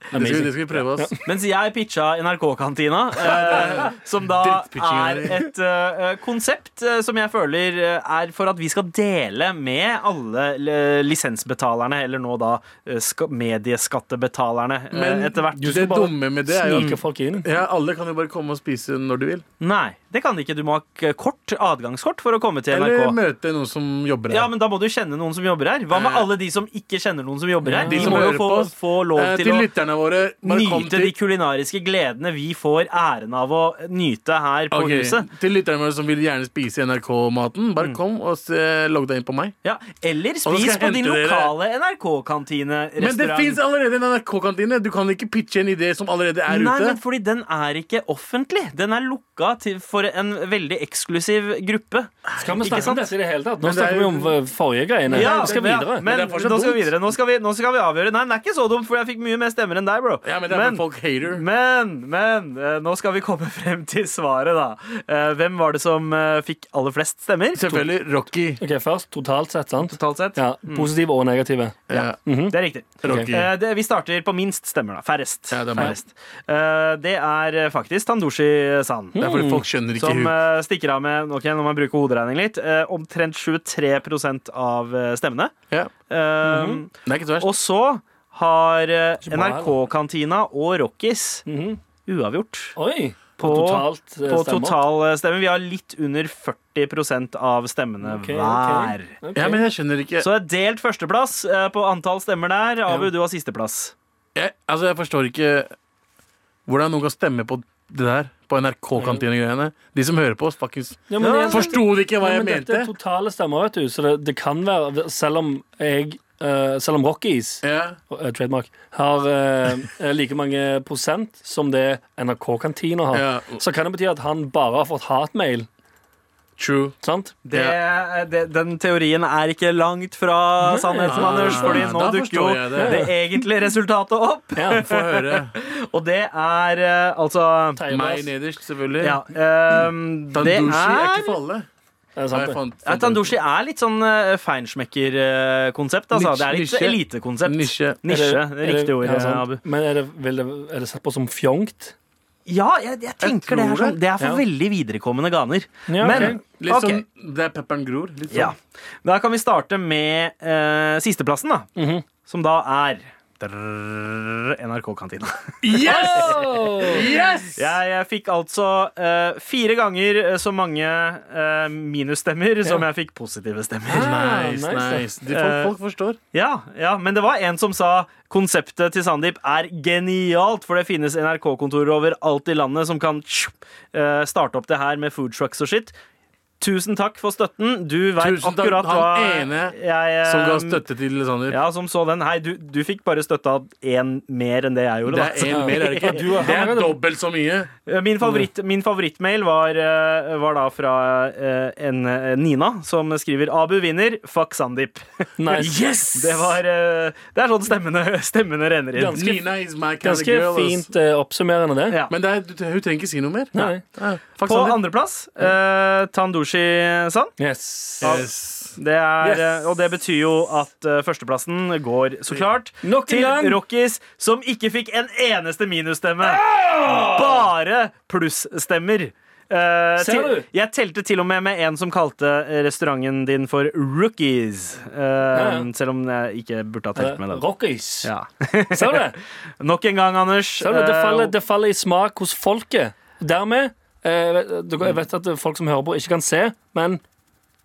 [SPEAKER 4] Det Mm. skal, vi- det skal vi prøve oss.
[SPEAKER 2] Mens jeg pitcha NRK-kantina, eh, som da
[SPEAKER 4] Drittpitchingen
[SPEAKER 2] er
[SPEAKER 4] din.
[SPEAKER 2] et eh, konsept eh, som jeg føler eh, er for at vi skal dele med alle eh, lisensbetalerne, eller nå da eh, ska medieskattebetalerne eh,
[SPEAKER 4] Men
[SPEAKER 2] etter hvert.
[SPEAKER 3] Du
[SPEAKER 4] Det
[SPEAKER 3] skal bare
[SPEAKER 4] dumme med det er jo
[SPEAKER 3] Snike folk inn.
[SPEAKER 4] ja, alle kan jo bare komme og spise når du vil.
[SPEAKER 2] Nei, det kan de ikke. Du må ha k- kort, adgangskort for å komme til NRK.
[SPEAKER 4] Eller møte noen som jobber her.
[SPEAKER 2] Ja, men Da må du kjenne noen som jobber her. Hva med alle de som ikke kjenner noen som jobber her?
[SPEAKER 3] Ja.
[SPEAKER 2] De
[SPEAKER 4] Eh. De som
[SPEAKER 2] må jo
[SPEAKER 4] hører
[SPEAKER 2] få,
[SPEAKER 4] på oss.
[SPEAKER 2] få lov
[SPEAKER 4] Eh,
[SPEAKER 2] til,
[SPEAKER 4] til
[SPEAKER 2] å
[SPEAKER 4] lytterne våre. Bare kom
[SPEAKER 2] nyte de kulinariske gledene vi får æren av å nyte her på
[SPEAKER 4] Ok,
[SPEAKER 2] huset. Mm.
[SPEAKER 4] Til lytterne våre som vil gjerne spise NRK-maten, bare kom og se- logg deg inn på meg.
[SPEAKER 2] Ja, Eller
[SPEAKER 4] skal
[SPEAKER 2] spis
[SPEAKER 4] jeg
[SPEAKER 2] på din
[SPEAKER 4] hente dere-
[SPEAKER 2] lokale
[SPEAKER 4] Men det fins
[SPEAKER 2] NRK-kantinerestaurant.
[SPEAKER 4] allerede en NRK-kantine. Du kan ikke pitche en idé som allerede er
[SPEAKER 2] Nei,
[SPEAKER 4] ute.
[SPEAKER 2] men fordi den er ikke offentlig. Den er lukka til, for en veldig eksklusiv gruppe.
[SPEAKER 3] Skal vi
[SPEAKER 2] Ikke
[SPEAKER 3] snakke
[SPEAKER 2] sant?
[SPEAKER 3] om dette i det hele tatt?
[SPEAKER 4] Men
[SPEAKER 3] Nå
[SPEAKER 4] det er
[SPEAKER 3] snakker vi
[SPEAKER 4] jo-
[SPEAKER 3] om eh, forrige greiene.
[SPEAKER 2] Ja,
[SPEAKER 3] vi skal videre.
[SPEAKER 2] Men,
[SPEAKER 4] det er fortsatt
[SPEAKER 2] nå skal vi
[SPEAKER 4] dumt.
[SPEAKER 2] videre. Nå skal vi, nå skal vi avgjøre. Nei, den er ikke så dum, for jeg fikk mye mer stemmer enn deg, bro.
[SPEAKER 4] Ja, men det er for folk hater.
[SPEAKER 2] Men, men eh, nå skal vi komme frem til svaret, da. Eh, Hvem var det som eh, fikk aller flest stemmer?
[SPEAKER 4] Selvfølgelig Rocky.
[SPEAKER 3] Ok, Først totalt sett, sant?
[SPEAKER 2] Totalt sett. Mm.
[SPEAKER 3] Ja, Positive og negative.
[SPEAKER 4] Ja.
[SPEAKER 2] Det er riktig.
[SPEAKER 4] Rocky.
[SPEAKER 2] Eh, det, vi starter på minst stemmer, da. Færrest.
[SPEAKER 4] Ja, det er meg.
[SPEAKER 2] Færrest. Eh, det er eh, faktisk Tandushi San.
[SPEAKER 4] Det er fordi folk skjønner ikke
[SPEAKER 2] Mm. Som
[SPEAKER 4] hun.
[SPEAKER 2] eh, stikker av med ok, når man bruker hoderegning litt, eh, omtrent 23 av eh, stemmene.
[SPEAKER 4] Ja.
[SPEAKER 2] Eh,
[SPEAKER 4] Det er ikke så verst.
[SPEAKER 2] Og så har eh,
[SPEAKER 3] Mhm. Ikke bra,
[SPEAKER 2] NRK-kantina og Rockies
[SPEAKER 3] Mhm.
[SPEAKER 2] uavgjort
[SPEAKER 3] Oi! På,
[SPEAKER 2] På-
[SPEAKER 3] totalt eh,
[SPEAKER 2] på
[SPEAKER 3] stemmer.
[SPEAKER 2] total eh, stemme. Vi har litt under 40 av stemmene
[SPEAKER 3] Ok, ok.
[SPEAKER 2] hver.
[SPEAKER 3] Ok.
[SPEAKER 4] Ja, men jeg skjønner ikke
[SPEAKER 2] Så det er delt førsteplass eh, på antall stemmer der. Abu, du har sisteplass.
[SPEAKER 4] jeg, Altså, jeg forstår ikke hvordan noen kan stemme på det der. På NRK-kantinegreiene. De som hører på oss, fuckings
[SPEAKER 3] Ja, men jeg-
[SPEAKER 4] Forsto de ikke hva
[SPEAKER 3] Ja,
[SPEAKER 4] jeg
[SPEAKER 3] men Dette
[SPEAKER 4] mente?
[SPEAKER 3] er totale stemmer, vet du. Så det, det kan være Selv om jeg eh, Selv om Rockies
[SPEAKER 4] Ja.
[SPEAKER 3] eh, trademark, har eh, like mange prosent som det NRK-kantina
[SPEAKER 2] Ah.
[SPEAKER 3] har.
[SPEAKER 4] Ja.
[SPEAKER 3] Så kan det bety at han bare har fått hatmail.
[SPEAKER 4] True.
[SPEAKER 3] Sant?
[SPEAKER 2] Det, det, den teorien er ikke langt fra sannheten,
[SPEAKER 4] Ah,
[SPEAKER 2] Anders, fordi nå
[SPEAKER 4] da
[SPEAKER 2] dukker jo
[SPEAKER 4] forstår jeg
[SPEAKER 2] det.
[SPEAKER 4] det.
[SPEAKER 2] egentlige resultatet opp.
[SPEAKER 3] Ja.
[SPEAKER 4] Få høre.
[SPEAKER 2] Og det er eh, altså
[SPEAKER 3] Tegneblass.
[SPEAKER 4] Meg nederst, selvfølgelig.
[SPEAKER 2] Ja, eh, det
[SPEAKER 4] Tandushi er
[SPEAKER 2] er
[SPEAKER 4] ikke for alle.
[SPEAKER 3] Er det
[SPEAKER 4] Nei,
[SPEAKER 3] sant? det?
[SPEAKER 4] fant-
[SPEAKER 2] Ja,
[SPEAKER 4] fant-
[SPEAKER 2] Tandoshi er litt sånn uh, feinschmecker-konsept. Altså.
[SPEAKER 4] Nisje-
[SPEAKER 2] Det er litt
[SPEAKER 4] nisje.
[SPEAKER 2] elitekonsept.
[SPEAKER 4] Nisje.
[SPEAKER 3] Er
[SPEAKER 2] Nisje,
[SPEAKER 3] er
[SPEAKER 2] det er riktig ord, eh,
[SPEAKER 3] ja, sant.
[SPEAKER 2] Abu.
[SPEAKER 3] Men er det, vil det, er det sett på som fjongt?
[SPEAKER 2] Ja, jeg, jeg tenker det,
[SPEAKER 4] tror
[SPEAKER 2] er sånn,
[SPEAKER 4] det.
[SPEAKER 2] det er for
[SPEAKER 3] Ja.
[SPEAKER 2] veldig viderekommende ganer.
[SPEAKER 3] Ja,
[SPEAKER 2] Men
[SPEAKER 3] ok.
[SPEAKER 4] Litt
[SPEAKER 2] ok,
[SPEAKER 4] sånn der pepperen gror. Litt sånn.
[SPEAKER 2] ja. Da kan vi starte med eh, sisteplassen, da.
[SPEAKER 3] Mhm.
[SPEAKER 2] Som da er NRK-kantina.
[SPEAKER 4] Yes! yes!
[SPEAKER 2] Jeg, eh, fikk altså eh, fire ganger eh, så mange eh, minusstemmer som jeg fikk positive stemmer.
[SPEAKER 4] Nice,
[SPEAKER 3] Ah, nice.
[SPEAKER 4] nice. De folk, folk forstår.
[SPEAKER 2] Ja, ja, men det var en som sa konseptet til Sandeep er genialt, for det finnes NRK-kontorer overalt i landet som kan tjup, eh, starte opp det her med food trucks og shit. Tusen takk for støtten. Du vet
[SPEAKER 4] Tusen takk,
[SPEAKER 2] akkurat
[SPEAKER 4] han
[SPEAKER 2] hva
[SPEAKER 4] ene
[SPEAKER 2] jeg eh,
[SPEAKER 4] Som ga støtte til Sander.
[SPEAKER 2] Ja, som så den. Hei, du, du fikk bare støtte av én mer enn det jeg gjorde.
[SPEAKER 4] Det
[SPEAKER 2] Da.
[SPEAKER 4] er en mer, er det ikke?
[SPEAKER 3] Du er-
[SPEAKER 4] Det er dobbelt så mye.
[SPEAKER 2] Min, favoritt, min favorittmail var, eh, var da fra eh, en eh, Nina, som skriver Abu vinner, fuck Sandeep.
[SPEAKER 3] Nice.
[SPEAKER 2] Det, var, eh, det er sånn stemmene, stemmene renner inn.
[SPEAKER 3] Ganske-
[SPEAKER 4] Nina is my kind of
[SPEAKER 3] Ganske
[SPEAKER 4] girl. ass.
[SPEAKER 3] fint eh, oppsummerende, det.
[SPEAKER 2] Ja.
[SPEAKER 4] Men det er, du, hun trenger ikke si noe mer.
[SPEAKER 3] Nei.
[SPEAKER 4] Ja, fuck
[SPEAKER 2] På
[SPEAKER 4] Sander.
[SPEAKER 2] andreplass, uh, Tandushi-san.
[SPEAKER 3] Yes.
[SPEAKER 4] Yes.
[SPEAKER 2] Det er,
[SPEAKER 3] Yes.
[SPEAKER 2] eh, Og det betyr jo at eh, førsteplassen går så klart
[SPEAKER 3] Nok en
[SPEAKER 2] til
[SPEAKER 3] gang.
[SPEAKER 2] Rockies, som ikke fikk en eneste minusstemme. Bare plusstemmer. Eh,
[SPEAKER 3] Ser
[SPEAKER 2] til-
[SPEAKER 3] du?
[SPEAKER 2] jeg telte til og med med en som kalte eh, restauranten din for Rookies. Eh,
[SPEAKER 3] ja. Eh,
[SPEAKER 2] Selv om jeg ikke burde ha telt med den.
[SPEAKER 3] Rockies.
[SPEAKER 2] Ja.
[SPEAKER 3] Ser du det?
[SPEAKER 2] Nok en gang, Anders.
[SPEAKER 3] Ser du, det,
[SPEAKER 2] Eh,
[SPEAKER 3] faller, det faller i smak hos folket. Dermed eh, vet- dere-
[SPEAKER 2] Mm.
[SPEAKER 3] Jeg vet at folk som hører på, ikke kan se, men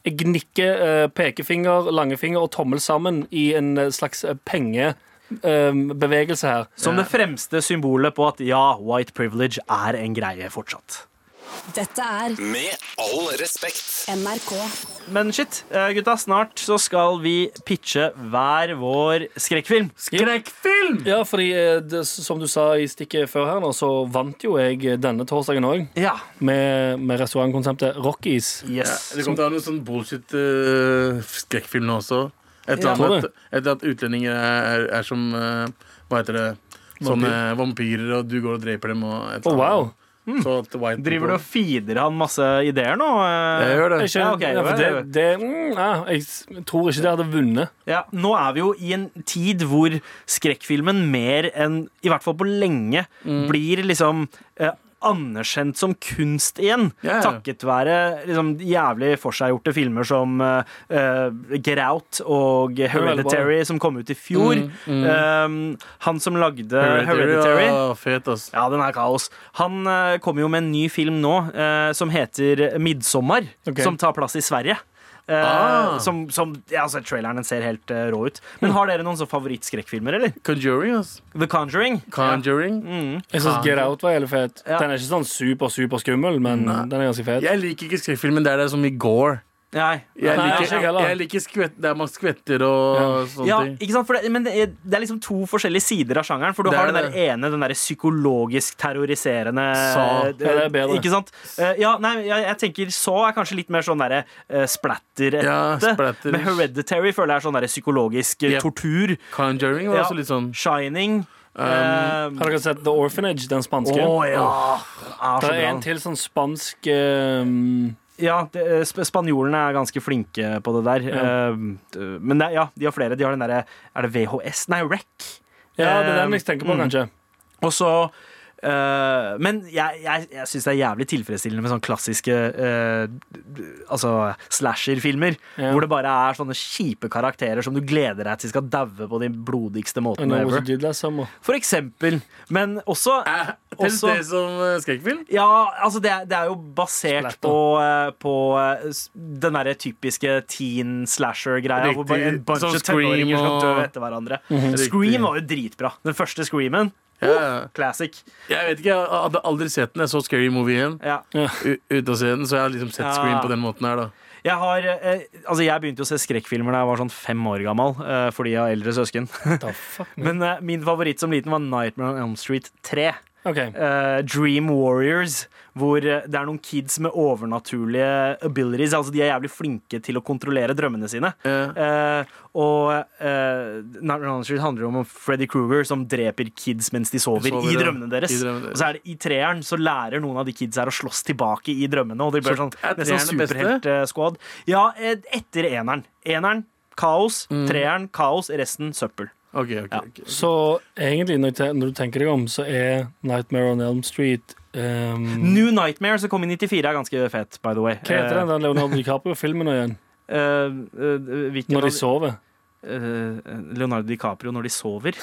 [SPEAKER 3] jeg gnikker eh, pekefinger, langefinger og tommel sammen i en eh, slags pengebevegelse her.
[SPEAKER 2] Som det fremste symbolet på at ja, white privilege er en greie fortsatt.
[SPEAKER 1] Dette er
[SPEAKER 5] Med all respekt.
[SPEAKER 1] NRK.
[SPEAKER 2] Men shit, eh, gutta, snart så skal vi pitche hver vår skrekkfilm.
[SPEAKER 4] Skrekkfilm!
[SPEAKER 3] Ja, fordi eh, det, som du sa i stikket før her, nå, så vant jo jeg eh, denne torsdagen òg.
[SPEAKER 2] Ja.
[SPEAKER 3] Med, med restaurantkonseptet Rockies.
[SPEAKER 2] Yes.
[SPEAKER 4] Det kommer til å være noe sånn bullshit eh, skrekkfilm nå også. Et eller
[SPEAKER 3] Tror du?
[SPEAKER 4] annet at, et eller annet utlendinger er, er, er som eh, Hva heter det? Sånne eh, vampyrer, og du går og dreper dem og et
[SPEAKER 3] Å,
[SPEAKER 4] eller
[SPEAKER 3] Oh,
[SPEAKER 4] annet.
[SPEAKER 3] wow.
[SPEAKER 4] Så at white
[SPEAKER 2] Driver du og feeder han masse ideer nå? eh?
[SPEAKER 4] Jeg gjør det.
[SPEAKER 3] Ikke,
[SPEAKER 2] Ja, ok,
[SPEAKER 3] ja, for det,
[SPEAKER 2] jo, jo.
[SPEAKER 3] det, mm, ja, jeg s- tror ikke det hadde vunnet.
[SPEAKER 2] Ja, nå er vi jo i en tid hvor skrekkfilmen mer enn, i hvert fall på lenge,
[SPEAKER 4] Mm.
[SPEAKER 2] blir liksom eh, anerkjent som kunst igjen.
[SPEAKER 4] Ja, ja.
[SPEAKER 2] Takket være liksom, jævlig forseggjorte filmer som eh, eh, Grout og Hereditary, som kom ut i fjor. Eh, han som lagde Hereditary,
[SPEAKER 4] Mm, Hereditary? Ja, fet, ass.
[SPEAKER 2] ja, den er kaos. Han eh, kommer jo med en ny film nå eh, som heter 'Midtsommer',
[SPEAKER 3] Ok.
[SPEAKER 2] som tar plass i Sverige. Eh,
[SPEAKER 4] Ah.
[SPEAKER 2] Som, som ja, altså, Traileren den ser helt eh, rå ut. Men har dere noen sånn favorittskrekkfilmer, eller?
[SPEAKER 4] Conjuring, ass.
[SPEAKER 2] The Conjuring? Mm.
[SPEAKER 4] Conjuring.
[SPEAKER 3] Jeg synes Get Out var jævlig fet.
[SPEAKER 2] Ja.
[SPEAKER 3] Den er ikke sånn super, super skummel, men den er ganske fet.
[SPEAKER 4] Jeg liker ikke skrekkfilmen der det er som i går.
[SPEAKER 2] Nei.
[SPEAKER 4] Jeg
[SPEAKER 3] Nei,
[SPEAKER 4] liker,
[SPEAKER 3] ikke heller.
[SPEAKER 4] jeg liker skvett, der man skvetter og sånne
[SPEAKER 2] Ja,
[SPEAKER 4] ting.
[SPEAKER 2] ikke sant? For det, men det er, det er liksom to forskjellige sider av sjangeren. For du
[SPEAKER 4] Det
[SPEAKER 2] har
[SPEAKER 4] er
[SPEAKER 2] den der ene, den derre psykologisk terroriserende
[SPEAKER 4] Saw.
[SPEAKER 2] eh,
[SPEAKER 3] Ja, det er bedre.
[SPEAKER 2] Ikke sant? Eh, ja, nei, jeg, jeg tenker så er kanskje litt mer sånn derre eh, splatter
[SPEAKER 4] Ja, splatter.
[SPEAKER 2] Men Hereditary føler jeg er sånn derre psykologisk eh,
[SPEAKER 4] Yep.
[SPEAKER 2] tortur.
[SPEAKER 4] Conjuring var
[SPEAKER 2] Ja.
[SPEAKER 4] også litt sånn
[SPEAKER 2] Shining.
[SPEAKER 4] Um,
[SPEAKER 2] eh,
[SPEAKER 3] Har dere sett The Orphanage, den spanske?
[SPEAKER 2] å ja! Er
[SPEAKER 3] det
[SPEAKER 2] så
[SPEAKER 3] er
[SPEAKER 2] bra.
[SPEAKER 3] en til sånn spansk ehm,
[SPEAKER 2] Ja, det, eh, sp spanjolene er ganske flinke på det der.
[SPEAKER 3] Ja.
[SPEAKER 2] Eh, men det, er- ja, de har flere. De har den derre Er det VHS? Nei, REC.
[SPEAKER 3] Ja, det er
[SPEAKER 2] Ehm,
[SPEAKER 3] den jeg tenker på,
[SPEAKER 2] mm.
[SPEAKER 3] kanskje.
[SPEAKER 2] Og så øh, Men jeg, jeg, jeg syns det er jævlig tilfredsstillende med sånne klassiske øh, Altså slasher-filmer.
[SPEAKER 3] Ja.
[SPEAKER 2] Hvor det bare er sånne kjipe karakterer som du gleder deg til skal daue på de blodigste
[SPEAKER 3] I
[SPEAKER 2] måtene
[SPEAKER 3] know what you
[SPEAKER 2] ever.
[SPEAKER 3] did last summer.
[SPEAKER 2] For eksempel. Men også
[SPEAKER 4] Til
[SPEAKER 2] Også-
[SPEAKER 4] det som eh, skrekkfilm?
[SPEAKER 2] ja, altså det, er- det er jo basert
[SPEAKER 3] Splatter.
[SPEAKER 2] på, eh, på eh, s- den derre typiske teen slasher-greia. Hvor bare en
[SPEAKER 4] Riktig.
[SPEAKER 2] bunch
[SPEAKER 4] Sånn
[SPEAKER 2] av tenåringer
[SPEAKER 4] Scream
[SPEAKER 2] skal dø
[SPEAKER 4] og- Mhm.
[SPEAKER 2] etter hverandre.
[SPEAKER 4] Riktig.
[SPEAKER 2] Scream var jo dritbra. Den første Screamen.
[SPEAKER 4] Ja.
[SPEAKER 2] Classic.
[SPEAKER 4] Jeg vet ikke, jeg hadde aldri sett den. Jeg så Scary Movie igjen
[SPEAKER 2] Ja.
[SPEAKER 4] u- uten å se den, så jeg har liksom sett
[SPEAKER 2] Ja.
[SPEAKER 4] Scream på den måten her, da.
[SPEAKER 2] Jeg, har, eh, altså jeg begynte å se skrekkfilmer da jeg var sånn fem år gammel, eh, fordi jeg har eldre søsken.
[SPEAKER 3] The fuck, man.
[SPEAKER 2] Men eh, min favoritt som liten var Nightmare on Elm Street 3.
[SPEAKER 3] Ok.
[SPEAKER 2] eh, Dream Warriors, hvor eh, det er noen kids med overnaturlige abilities. Altså De er jævlig flinke til å kontrollere drømmene sine.
[SPEAKER 4] Eh,
[SPEAKER 2] Eh, og eh, Nightmare on Elm Street handler om Freddy Krueger som dreper kids mens de sover,
[SPEAKER 4] Sover,
[SPEAKER 2] i
[SPEAKER 4] ja.
[SPEAKER 2] drømmene deres.
[SPEAKER 4] I drømmene deres.
[SPEAKER 2] Og så er det i treeren så lærer noen av de kids her å slåss tilbake i drømmene. Og de blir
[SPEAKER 4] Så
[SPEAKER 2] sånn,
[SPEAKER 4] er
[SPEAKER 2] nesten
[SPEAKER 4] treeren den beste?
[SPEAKER 2] superhelt-squad. Ja, eh, etter eneren. Eneren kaos,
[SPEAKER 4] Mm.
[SPEAKER 2] treeren kaos, resten søppel.
[SPEAKER 4] OK, OK. ok.
[SPEAKER 3] Så egentlig, når, jeg te- når du tenker deg om, så er Nightmare on Elm Street ehm,
[SPEAKER 2] New Nightmare som kom i 94 er ganske fet, by the way.
[SPEAKER 3] Hva heter den der Leonardo DiCaprio-filmen nå igjen?
[SPEAKER 2] Eh, eh, eh, hvilken
[SPEAKER 3] Når de
[SPEAKER 2] av-
[SPEAKER 3] sover?
[SPEAKER 2] eh, Leonardo DiCaprio når de sover.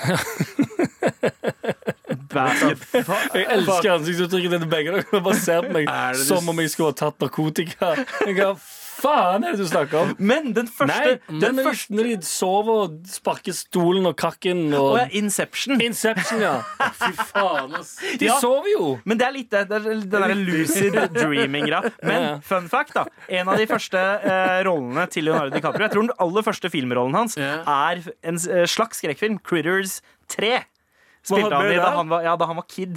[SPEAKER 2] Hva-
[SPEAKER 3] Jeg elsker ansiktsuttrykket til begge dere. Dere bare ser på meg
[SPEAKER 4] Er det du-
[SPEAKER 3] som om jeg skulle ha tatt narkotika. Jeg, hva faen er det du snakker om?
[SPEAKER 2] Men den første,
[SPEAKER 3] Nei,
[SPEAKER 2] den
[SPEAKER 3] den er
[SPEAKER 2] første
[SPEAKER 3] første når de sover og sparker stolen og kakken
[SPEAKER 2] Å
[SPEAKER 3] og
[SPEAKER 2] ja, Inception.
[SPEAKER 3] Inception, ja.
[SPEAKER 4] Fy faen, ass.
[SPEAKER 3] De
[SPEAKER 2] Ja.
[SPEAKER 3] sover jo.
[SPEAKER 2] Men det er litt det. det er den der lucid dreaming-greia. Men
[SPEAKER 3] Ja, ja.
[SPEAKER 2] fun fact, da. En av de første eh, rollene til Leonardo DiCaprio, jeg tror den aller første filmrollen hans,
[SPEAKER 4] Ja.
[SPEAKER 2] er en s- eh, slags skrekkfilm. Critters 3. Spilte
[SPEAKER 4] Hva
[SPEAKER 2] han
[SPEAKER 4] ble
[SPEAKER 2] i da
[SPEAKER 4] det?
[SPEAKER 2] han var, ja, da han var kid.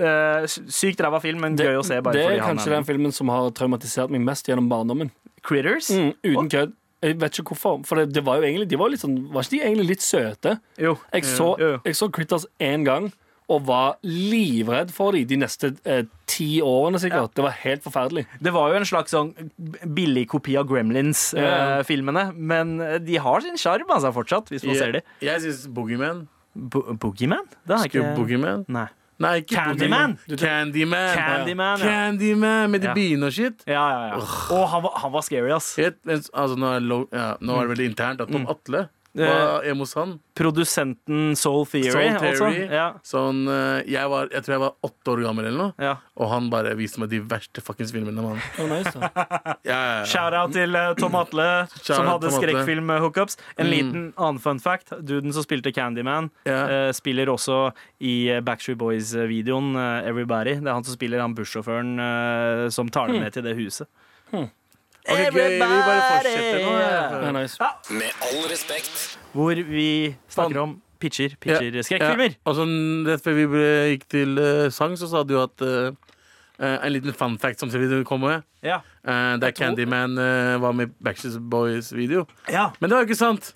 [SPEAKER 2] Eh, s- sykt ræva film, men gøy å se bare
[SPEAKER 3] det er
[SPEAKER 2] fordi han
[SPEAKER 3] kanskje
[SPEAKER 2] er
[SPEAKER 3] den filmen som har traumatisert meg mest gjennom barndommen.
[SPEAKER 2] Critters?
[SPEAKER 3] Mm, uten kødd. Jeg vet ikke hvorfor. For det, det var jo egentlig, de var, litt sånn, var ikke de egentlig litt søte?
[SPEAKER 2] Jo.
[SPEAKER 3] Jeg så,
[SPEAKER 2] Jo, jo.
[SPEAKER 3] jeg så Critters én gang og var livredd for dem de neste eh, ti årene. sikkert Det var helt forferdelig.
[SPEAKER 2] Det var jo en slags sånn billig kopi av
[SPEAKER 3] Ja.
[SPEAKER 2] Gremlins-filmene. men eh, de har sin sjarm altså, fortsatt, hvis man ser
[SPEAKER 4] Jeg,
[SPEAKER 2] de.
[SPEAKER 4] jeg syns Boogeyman.
[SPEAKER 2] Bo Boogeyman? Det har jeg
[SPEAKER 4] Husker du
[SPEAKER 2] ikke
[SPEAKER 4] Boogeyman?
[SPEAKER 2] Nei.
[SPEAKER 4] Nei, ikke
[SPEAKER 2] Candyman.
[SPEAKER 4] Boogeyman. Candyman.
[SPEAKER 2] Candyman, ja.
[SPEAKER 4] Candyman med de
[SPEAKER 2] Ja.
[SPEAKER 4] biene og shit.
[SPEAKER 2] Ja, ja, ja. Og han var, han var scary, ass.
[SPEAKER 4] Helt- altså, nå, er det lo- ja, nå
[SPEAKER 2] Mm.
[SPEAKER 4] er det veldig internt at Tom Atle var hjemme hos han.
[SPEAKER 2] Produsenten Soul Theory.
[SPEAKER 4] Soul
[SPEAKER 2] altså.
[SPEAKER 4] Theory.
[SPEAKER 2] Ja,
[SPEAKER 4] Sånn, eh, jeg, var, jeg tror jeg var åtte år gammel, eller noe.
[SPEAKER 2] ja.
[SPEAKER 4] Og han bare viste meg de verste fuckings filmene. Man.
[SPEAKER 3] Det var nice, da.
[SPEAKER 4] Ja, ja, ja.
[SPEAKER 2] Shout-out til eh, Tom Atle, som
[SPEAKER 4] Shout-out
[SPEAKER 2] hadde
[SPEAKER 4] Tom Atle. Mm.
[SPEAKER 2] skrekkfilm-hookups. En liten annen fun fact. Duden som spilte Candyman,
[SPEAKER 4] Ja.
[SPEAKER 2] eh, spiller også i eh, Backstreet Boys-videoen eh, Everybody. Det er han som spiller han bussjåføren eh, som tar
[SPEAKER 4] Hmm.
[SPEAKER 2] dem med til det huset.
[SPEAKER 4] Ok, gøy, vi bare fortsetter nå.
[SPEAKER 3] Det
[SPEAKER 4] Hmm.
[SPEAKER 3] var
[SPEAKER 4] ja.
[SPEAKER 3] nice.
[SPEAKER 5] Med all respekt.
[SPEAKER 2] Hvor vi snakker om pitcher, pitcher, skrekkfilmer.
[SPEAKER 4] Ja. Og sånn, rett før vi ble, gikk til eh, sang, så sa du at eh, eh, En liten fun fact som du kom med.
[SPEAKER 2] Ja.
[SPEAKER 4] eh, der
[SPEAKER 3] tror-
[SPEAKER 4] Candyman eh, var med i Backstreet Boys-video.
[SPEAKER 2] Ja.
[SPEAKER 4] Men det var jo ikke sant!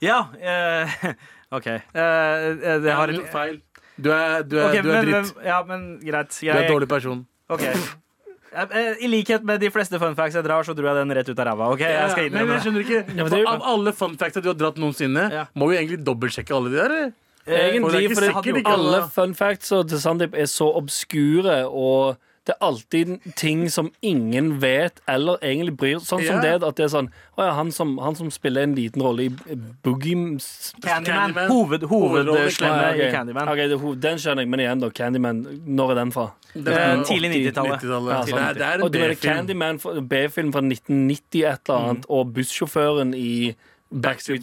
[SPEAKER 2] ja. eh, OK. Eh, eh, det har et
[SPEAKER 4] Jeg gjorde feil. Du er, du er,
[SPEAKER 2] Ok,
[SPEAKER 4] du er
[SPEAKER 2] men-
[SPEAKER 4] dritt.
[SPEAKER 2] men- Ja, men greit.
[SPEAKER 4] Du er
[SPEAKER 2] Jeg-
[SPEAKER 4] en dårlig person.
[SPEAKER 2] Ok. Jeg- eh, I likhet med de fleste fun facts jeg drar, så dro jeg den rett ut av ræva. Ok, jeg skal
[SPEAKER 4] men
[SPEAKER 2] innrømme
[SPEAKER 4] jeg
[SPEAKER 2] det.
[SPEAKER 4] skjønner ikke
[SPEAKER 3] men det er jo-
[SPEAKER 4] for Av alle fun facts du har dratt noensinne,
[SPEAKER 2] Ja.
[SPEAKER 4] må vi egentlig dobbeltsjekke alle de der? eller? Og det er
[SPEAKER 3] Egentlig,
[SPEAKER 4] ikke
[SPEAKER 3] for
[SPEAKER 4] sikkert
[SPEAKER 3] det,
[SPEAKER 4] ikke alle,
[SPEAKER 3] alle
[SPEAKER 4] da.
[SPEAKER 3] fun facts til Sandeep er så obskure, og det er alltid ting som ingen vet eller egentlig bryr Sånn som
[SPEAKER 4] Ja.
[SPEAKER 3] det at det er sånn Å ja, han som, han som spiller en liten rolle i Boogie
[SPEAKER 2] Candyman.
[SPEAKER 4] Candyman.
[SPEAKER 2] Hoved, hovedslemme
[SPEAKER 3] Ah, ja,
[SPEAKER 2] i
[SPEAKER 3] ok.
[SPEAKER 2] Candyman.
[SPEAKER 3] Ok, det, er hov- den skjønner jeg, men igjen, da. Candyman, når er den fra?
[SPEAKER 4] Det er
[SPEAKER 2] Eh, tidlig 90-tallet.
[SPEAKER 4] 90-tallet.
[SPEAKER 3] Ja, sånn.
[SPEAKER 4] Nei, det er
[SPEAKER 3] Og
[SPEAKER 4] en
[SPEAKER 3] du mener
[SPEAKER 4] B-film. Mm.
[SPEAKER 3] Candyman, fra- B-film fra 1990 et eller annet, og bussjåføren i
[SPEAKER 4] Backstreet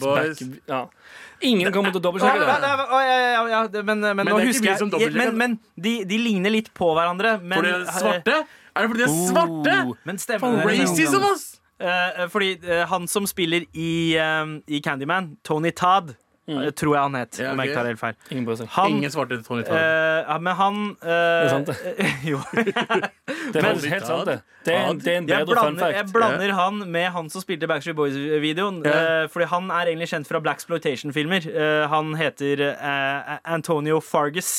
[SPEAKER 3] Backstreet
[SPEAKER 4] Boys.
[SPEAKER 3] Boys. ja. Ingen kommer til å
[SPEAKER 2] Ja,
[SPEAKER 3] dobbeltsjekke
[SPEAKER 2] ja,
[SPEAKER 3] det.
[SPEAKER 2] ja, ja, ja, ja, det- Men men
[SPEAKER 4] det
[SPEAKER 2] nå
[SPEAKER 4] er ikke
[SPEAKER 2] husker
[SPEAKER 4] vi som
[SPEAKER 2] jeg Men,
[SPEAKER 4] dobbeltsjekker
[SPEAKER 2] men de, de ligner litt på hverandre. Men,
[SPEAKER 4] Fordi de er svarte? Er det fordi de er svarte?
[SPEAKER 3] Oh.
[SPEAKER 2] Men
[SPEAKER 4] Faen,
[SPEAKER 2] stemmen
[SPEAKER 4] Racism, ass!
[SPEAKER 2] Eh, Fordi eh, han som spiller i, eh, i Candyman, Tony Todd, eh, tror jeg han het.
[SPEAKER 4] Mm. Ja,
[SPEAKER 2] Om jeg
[SPEAKER 4] ok.
[SPEAKER 2] ikke tar helt feil.
[SPEAKER 3] Ingen bryr seg.
[SPEAKER 2] Han
[SPEAKER 4] Ingen svarte til Tony
[SPEAKER 2] eh,
[SPEAKER 4] Todd.
[SPEAKER 2] ja, Men han eh,
[SPEAKER 3] er sant, det.
[SPEAKER 2] Jo.
[SPEAKER 3] Det er faktisk helt sant, det. Det er en, det er en
[SPEAKER 2] Jeg
[SPEAKER 3] bedre fun
[SPEAKER 2] blander, jeg
[SPEAKER 3] fact.
[SPEAKER 2] blander han med han som spilte Backstreet Boys-videoen.
[SPEAKER 4] Ja.
[SPEAKER 2] eh, fordi han er egentlig kjent fra Blaxploitation-filmer. Eh, han heter eh, Antonio Fargus.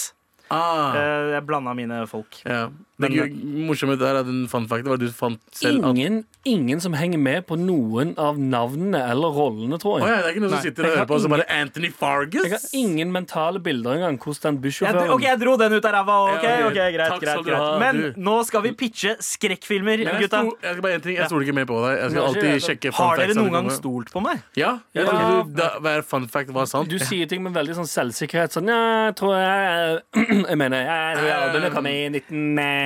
[SPEAKER 4] Ah.
[SPEAKER 2] Eh, jeg blanda mine folk.
[SPEAKER 4] Ja.
[SPEAKER 2] Men-
[SPEAKER 4] Det gøy- morsomme der er den fun facten var at du fant selv at
[SPEAKER 3] Ingen, ingen som henger med på noen av navnene eller rollene, tror
[SPEAKER 4] Å
[SPEAKER 3] jeg.
[SPEAKER 4] ja, det er ikke noen som sitter og
[SPEAKER 3] Jeg
[SPEAKER 4] hører
[SPEAKER 3] har
[SPEAKER 4] på og så bare Anthony Fargus?
[SPEAKER 3] Jeg har ingen mentale bilder engang hvordan den
[SPEAKER 2] Jeg, OK,
[SPEAKER 3] bussjåføren
[SPEAKER 2] jeg dro den ut av ræva. ok,
[SPEAKER 4] Ja, ok.
[SPEAKER 2] ok, greit,
[SPEAKER 4] Takk skal
[SPEAKER 2] greit,
[SPEAKER 4] du
[SPEAKER 2] greit.
[SPEAKER 4] ha,
[SPEAKER 2] Men
[SPEAKER 4] du.
[SPEAKER 2] nå skal vi pitche skrekkfilmer,
[SPEAKER 4] Men jeg,
[SPEAKER 2] gutta.
[SPEAKER 4] sto, jeg skal bare en ting, jeg stoler ikke mer på deg. Jeg skal
[SPEAKER 3] Nei,
[SPEAKER 4] alltid
[SPEAKER 3] ikke-
[SPEAKER 4] sjekke fun
[SPEAKER 2] Har dere
[SPEAKER 4] facts
[SPEAKER 2] noen gang
[SPEAKER 4] når de kommer.
[SPEAKER 2] stolt på meg?
[SPEAKER 4] Ja,
[SPEAKER 3] Ja.
[SPEAKER 4] jeg trodde du- da- hver fun fact var sant.
[SPEAKER 3] Du sier ting med veldig sånn selvsikkerhet. Sånn ja, jeg tror jeg eh, Jeg mener, jeg tror jeg albumet kom i 1992.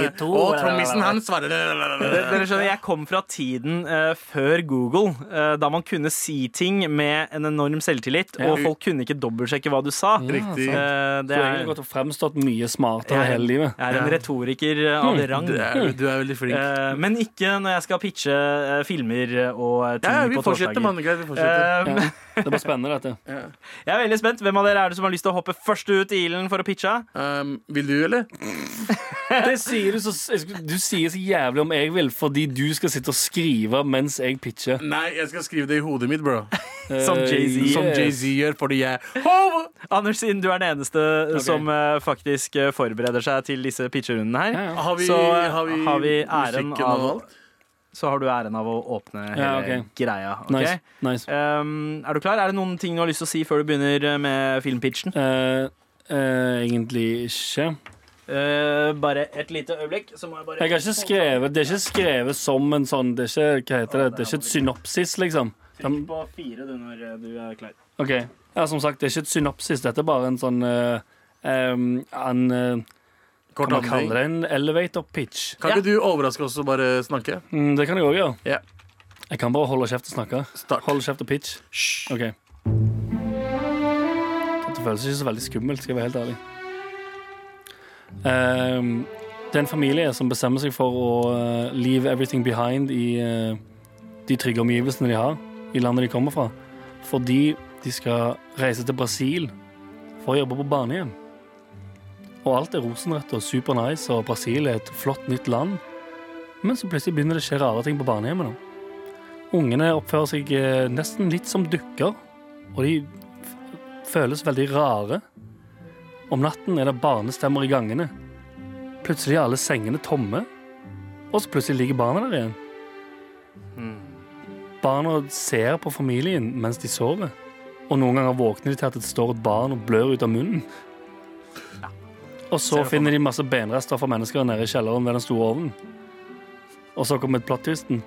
[SPEAKER 4] Eh, Og trommisen, han svarer
[SPEAKER 2] Dere skjønner, Jeg kom fra tiden eh, før Google, eh, da man kunne si ting med en enorm selvtillit,
[SPEAKER 3] Ja.
[SPEAKER 2] og folk kunne ikke dobbeltsjekke hva du sa.
[SPEAKER 4] Mm. Riktig.
[SPEAKER 2] Eh, det
[SPEAKER 3] Du har
[SPEAKER 2] er,
[SPEAKER 3] egentlig gått og fremstått mye smartere hele livet.
[SPEAKER 2] jeg er en retoriker eh, av rang.
[SPEAKER 4] Du er, du er veldig flink.
[SPEAKER 2] Eh, men ikke når jeg skal pitche eh, filmer og eh, ting
[SPEAKER 4] Ja, vi
[SPEAKER 2] på
[SPEAKER 4] fortsetter, mann.
[SPEAKER 2] torsdager.
[SPEAKER 4] Greit, vi fortsetter.
[SPEAKER 2] Eh,
[SPEAKER 3] Ja. Det var spennende, dette.
[SPEAKER 2] jeg er veldig spent. Hvem av dere er det som har lyst til å hoppe først ut i ilden for å pitche?
[SPEAKER 4] Um, vil du, eller?
[SPEAKER 3] Det sier du, så, du sier så jævlig om jeg vil, fordi du skal sitte og skrive mens jeg
[SPEAKER 2] Mm.
[SPEAKER 3] pitcher.
[SPEAKER 4] Nei, jeg skal skrive det i hodet mitt, bro.
[SPEAKER 2] Eh, Som Jay-Z.
[SPEAKER 4] Som
[SPEAKER 3] Yes.
[SPEAKER 4] Jay-Z gjør, fordi jeg Hov!
[SPEAKER 2] Anders, siden du er den eneste som eh, faktisk eh, forbereder seg til disse pitcherundene her,
[SPEAKER 3] Ja, ja.
[SPEAKER 4] Har vi,
[SPEAKER 2] Så,
[SPEAKER 4] har vi,
[SPEAKER 2] har vi æren
[SPEAKER 4] musikken
[SPEAKER 2] av-
[SPEAKER 4] og alt?
[SPEAKER 2] så har du æren av å åpne hele
[SPEAKER 3] Ja, ok.
[SPEAKER 2] greia. ok?
[SPEAKER 3] Nice. nice.
[SPEAKER 2] Um, er du klar? Er det noen ting du har lyst til å si før du begynner eh, med filmpitchen?
[SPEAKER 3] Eh, eh, egentlig ikke.
[SPEAKER 2] Uh, bare et lite øyeblikk. Så må jeg bare
[SPEAKER 3] Jeg har ikke skrevet, det er ikke skrevet som en sånn Det er ikke, hva heter det? Det er ikke et synopsis, liksom.
[SPEAKER 2] Trykk på fire du når eh, du er klar.
[SPEAKER 3] Ok, ja, Som sagt, det er ikke et synopsis. Dette er bare en sånn eh, em, En eh,
[SPEAKER 4] Kort
[SPEAKER 3] Kan man
[SPEAKER 4] handling.
[SPEAKER 3] kalle det en elevator pitch?
[SPEAKER 4] Kan ikke du overraske oss og bare snakke?
[SPEAKER 3] Mm, det kan jeg òg gjøre.
[SPEAKER 4] Ja.
[SPEAKER 3] Jeg kan bare holde kjeft og snakke.
[SPEAKER 4] Start.
[SPEAKER 3] Holde kjeft og pitch. Ok Det føles ikke så veldig skummelt, skal jeg være helt ærlig. Ehm, det er en familie som bestemmer seg for å eh, leave everything behind i eh, de trygge omgivelsene de har, i landet de kommer fra, fordi de skal reise til Brasil for å jobbe på barnehjem. Og alt er rosenrødt og super nice, og Brasil er et flott nytt land. Men så plutselig begynner det å skje rare ting på barnehjemmet. da. Ungene oppfører seg eh, nesten litt som dukker, og de f- føles veldig rare. Om natten er det barnestemmer i gangene. Plutselig er alle sengene tomme, og så plutselig ligger barna der igjen.
[SPEAKER 2] Hmm.
[SPEAKER 3] Barna ser på familien mens de sover, og noen ganger våkner de til at det står et barn og blør ut av munnen. Og
[SPEAKER 2] Ser
[SPEAKER 3] så
[SPEAKER 2] det for
[SPEAKER 3] finner de masse benrester fra mennesker nede i kjelleren ved den store ovnen. Og så kommer plot-twisten.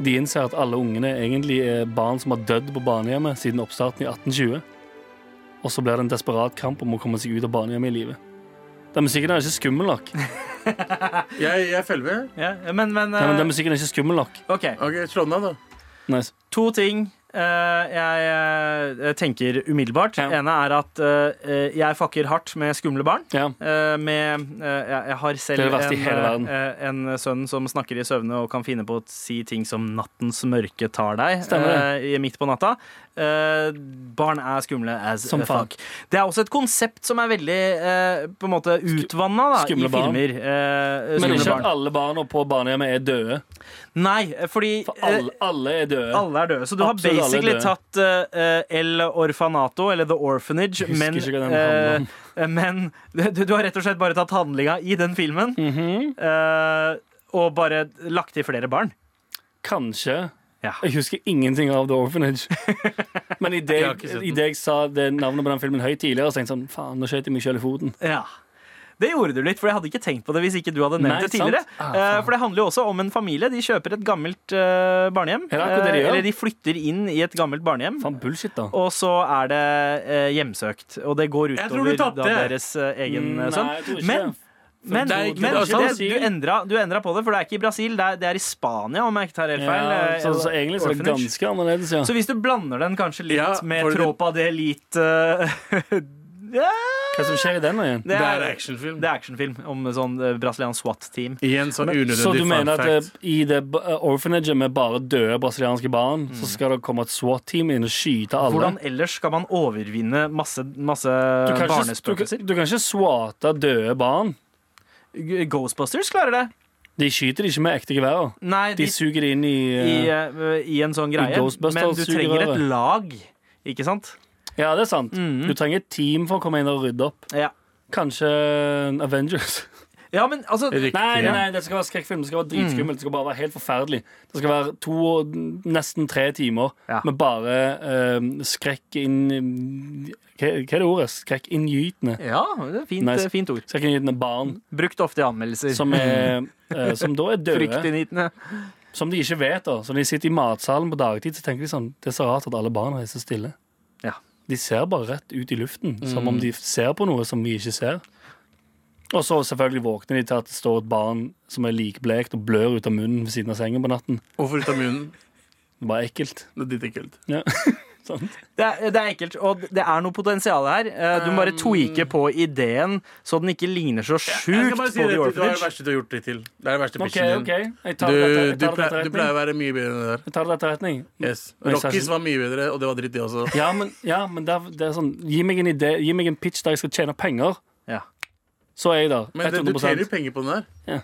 [SPEAKER 3] De innser at alle ungene egentlig er barn som har dødd på barnehjemmet siden oppstarten i 1820. Og så blir det en desperat kamp om å komme seg ut av barnehjemmet i livet. Den musikken er ikke skummel nok. Nei,
[SPEAKER 4] Jeg, jeg følger med.
[SPEAKER 2] Ja, men, men, eh,
[SPEAKER 3] men den musikken er ikke skummel nok.
[SPEAKER 2] OK.
[SPEAKER 4] OK, slå den av, da.
[SPEAKER 3] Nice.
[SPEAKER 2] To ting eh, jeg eh, tenker umiddelbart.
[SPEAKER 3] Ja.
[SPEAKER 2] ene er at eh, jeg fucker hardt med skumle barn.
[SPEAKER 3] Ja.
[SPEAKER 2] Eh, med, eh, jeg, jeg har selv
[SPEAKER 3] Det er det verste i
[SPEAKER 2] en,
[SPEAKER 3] hele verden.
[SPEAKER 2] eh, en sønn som snakker i søvne og kan finne på å si ting som 'nattens mørke tar deg'
[SPEAKER 3] Stemmer
[SPEAKER 2] eh, i- midt på natta. Eh, barn er skumle as
[SPEAKER 3] Som faen.
[SPEAKER 2] fuck. Det er også et konsept som er veldig eh, på en måte utvanna da, i
[SPEAKER 3] skumle barn.
[SPEAKER 2] filmer. Eh,
[SPEAKER 3] Men
[SPEAKER 2] skumle
[SPEAKER 3] ikke at
[SPEAKER 2] barn.
[SPEAKER 3] alle barna på barnehjemmet er døde.
[SPEAKER 2] Nei, fordi
[SPEAKER 3] For
[SPEAKER 2] eh,
[SPEAKER 3] alle, alle er døde.
[SPEAKER 2] alle er døde. Så du har
[SPEAKER 3] Absolutt alle
[SPEAKER 2] basically
[SPEAKER 3] døde.
[SPEAKER 2] tatt eh, El Orfanato, eller The Orphanage,
[SPEAKER 3] Jeg husker
[SPEAKER 2] men,
[SPEAKER 3] ikke hva den handler om.
[SPEAKER 2] eh, men du, du har rett og slett bare tatt handlinga i den filmen
[SPEAKER 3] Mhm.
[SPEAKER 2] eh, og bare lagt til flere barn.
[SPEAKER 3] Kanskje.
[SPEAKER 2] Ja.
[SPEAKER 3] Jeg husker ingenting av The Orphanage. Men i det
[SPEAKER 4] Jeg har ikke sett
[SPEAKER 3] jeg,
[SPEAKER 4] den.
[SPEAKER 3] i det jeg sa det navnet på den filmen høyt tidligere, så tenkte jeg sånn Faen, nå skjøt jeg meg selv i foten.
[SPEAKER 2] Ja. Det gjorde du litt, for jeg hadde ikke tenkt på det hvis ikke du hadde nevnt
[SPEAKER 3] Nei,
[SPEAKER 2] det tidligere.
[SPEAKER 3] sant?
[SPEAKER 2] Eh,
[SPEAKER 3] Ah,
[SPEAKER 2] for det handler jo også om en familie. De kjøper et gammelt eh, barnehjem.
[SPEAKER 3] Ja, det er akkurat det de
[SPEAKER 2] Eh,
[SPEAKER 3] gjør.
[SPEAKER 2] eller de flytter inn i et gammelt barnehjem.
[SPEAKER 3] Faen, bullshit, da.
[SPEAKER 2] Og så er det eh, hjemsøkt. Og det går
[SPEAKER 4] Jeg tror
[SPEAKER 2] utover
[SPEAKER 4] du
[SPEAKER 2] da
[SPEAKER 4] tapte.
[SPEAKER 2] deres eh, egen eh, sønn.
[SPEAKER 3] jeg tror ikke
[SPEAKER 2] Men-
[SPEAKER 3] det.
[SPEAKER 2] Men,
[SPEAKER 4] Det er ikke-
[SPEAKER 2] men
[SPEAKER 4] det er
[SPEAKER 2] det,
[SPEAKER 4] sant.
[SPEAKER 2] du, endra, du endra på det, for det er ikke i Brasil, det er, det er i Spania, om jeg ikke tar helt feil.
[SPEAKER 3] ja,
[SPEAKER 2] eh,
[SPEAKER 3] så, så egentlig så er det
[SPEAKER 2] orphanage.
[SPEAKER 3] ganske annerledes, ja.
[SPEAKER 2] Så hvis du blander den kanskje litt
[SPEAKER 4] Ja,
[SPEAKER 2] med
[SPEAKER 4] for det-
[SPEAKER 2] Tropa de Elite eh, ja,
[SPEAKER 3] Hva som skjer i den igjen?
[SPEAKER 2] det, er,
[SPEAKER 4] actionfilm.
[SPEAKER 2] det er actionfilm om sånn eh, brasiliansk SWAT-team.
[SPEAKER 4] Igjen sånn unødvendig
[SPEAKER 3] Så du mener
[SPEAKER 4] fun
[SPEAKER 3] at
[SPEAKER 4] fact.
[SPEAKER 3] eh, i det ba- eh, orphanaget med bare døde brasilianske barn, så
[SPEAKER 4] Mm.
[SPEAKER 3] skal det komme et SWAT-team inn og skyte alle?
[SPEAKER 2] Hvordan eh, ellers skal man overvinne masse, masse
[SPEAKER 3] du kan, ikke, du,
[SPEAKER 2] barnespøkelser?
[SPEAKER 3] kan- du kan ikke swate døde barn.
[SPEAKER 2] Ghostbusters klarer det.
[SPEAKER 3] De skyter de ikke med ekte geværer.
[SPEAKER 2] Nei,
[SPEAKER 3] De
[SPEAKER 2] de
[SPEAKER 3] suger det inn i,
[SPEAKER 2] i,
[SPEAKER 3] eh,
[SPEAKER 2] eh, i en sånn greie.
[SPEAKER 3] Ghostbusters
[SPEAKER 2] Men du
[SPEAKER 3] suger
[SPEAKER 2] trenger et
[SPEAKER 3] røret.
[SPEAKER 2] lag, ikke sant?
[SPEAKER 3] Ja, det er sant.
[SPEAKER 2] Mhm.
[SPEAKER 3] Du trenger et team for å komme inn og rydde opp.
[SPEAKER 2] Ja,
[SPEAKER 3] Kanskje eh, Avengers.
[SPEAKER 2] ja men altså
[SPEAKER 4] Riktig.
[SPEAKER 3] Nei, nei, nei, det skal være skrekkfilm. Det skal være dritskummelt. Det skal bare være helt forferdelig. Det skal være to, og nesten tre timer
[SPEAKER 2] Ja.
[SPEAKER 3] med bare eh, skrekk inn hva, hva er det ordet? Skrekkinngytende.
[SPEAKER 2] Ja, det er fint,
[SPEAKER 3] Nice.
[SPEAKER 2] fint ord.
[SPEAKER 3] Skrekkinngytende barn
[SPEAKER 2] Brukt ofte i anmeldelser.
[SPEAKER 3] som, er, eh, som da er døde.
[SPEAKER 2] Fryktinngytende.
[SPEAKER 3] Som de ikke vet. da Så Når de sitter i matsalen på dagtid, så tenker de sånn Det er så rart at alle barna er så stille.
[SPEAKER 2] Ja.
[SPEAKER 3] De ser bare rett ut i luften, som
[SPEAKER 4] Mm.
[SPEAKER 3] om de ser på noe som vi ikke ser. Og så selvfølgelig våkner de til at det står et barn som er likblekt og blør ut av munnen ved siden av sengen på natten.
[SPEAKER 4] Hvorfor ut av munnen?
[SPEAKER 3] Det er bare ekkelt.
[SPEAKER 4] Det er ditt ekkelt.
[SPEAKER 2] Det er, det er ekkelt, og det er noe potensial her. Eh, Du må bare tweake på ideen, så den ikke ligner så
[SPEAKER 4] Um, Jeg
[SPEAKER 2] sjukt
[SPEAKER 4] skal
[SPEAKER 2] på
[SPEAKER 4] bare si det,
[SPEAKER 2] The
[SPEAKER 4] det er det
[SPEAKER 2] Orphanage.
[SPEAKER 4] verste du har gjort det til. Det er det verste
[SPEAKER 3] OK,
[SPEAKER 4] pitchen
[SPEAKER 3] OK.
[SPEAKER 4] din.
[SPEAKER 3] Jeg tar
[SPEAKER 4] Du,
[SPEAKER 3] det til- jeg
[SPEAKER 4] du,
[SPEAKER 3] tar det til
[SPEAKER 4] pleier, du
[SPEAKER 3] etterretning.
[SPEAKER 4] pleier å være mye bedre enn det der.
[SPEAKER 3] Jeg tar det til etterretning.
[SPEAKER 4] Yes.
[SPEAKER 3] Men jeg sa
[SPEAKER 4] Rockies
[SPEAKER 3] ikke-
[SPEAKER 4] var mye bedre, og det var dritt, det også.
[SPEAKER 3] Ja, men, ja, men det, er, det er sånn Gi meg en idé, gi meg en pitch der jeg skal tjene penger,
[SPEAKER 2] Ja.
[SPEAKER 3] så er jeg der.
[SPEAKER 4] Men det, du
[SPEAKER 3] 100
[SPEAKER 4] tjener jo penger på den der.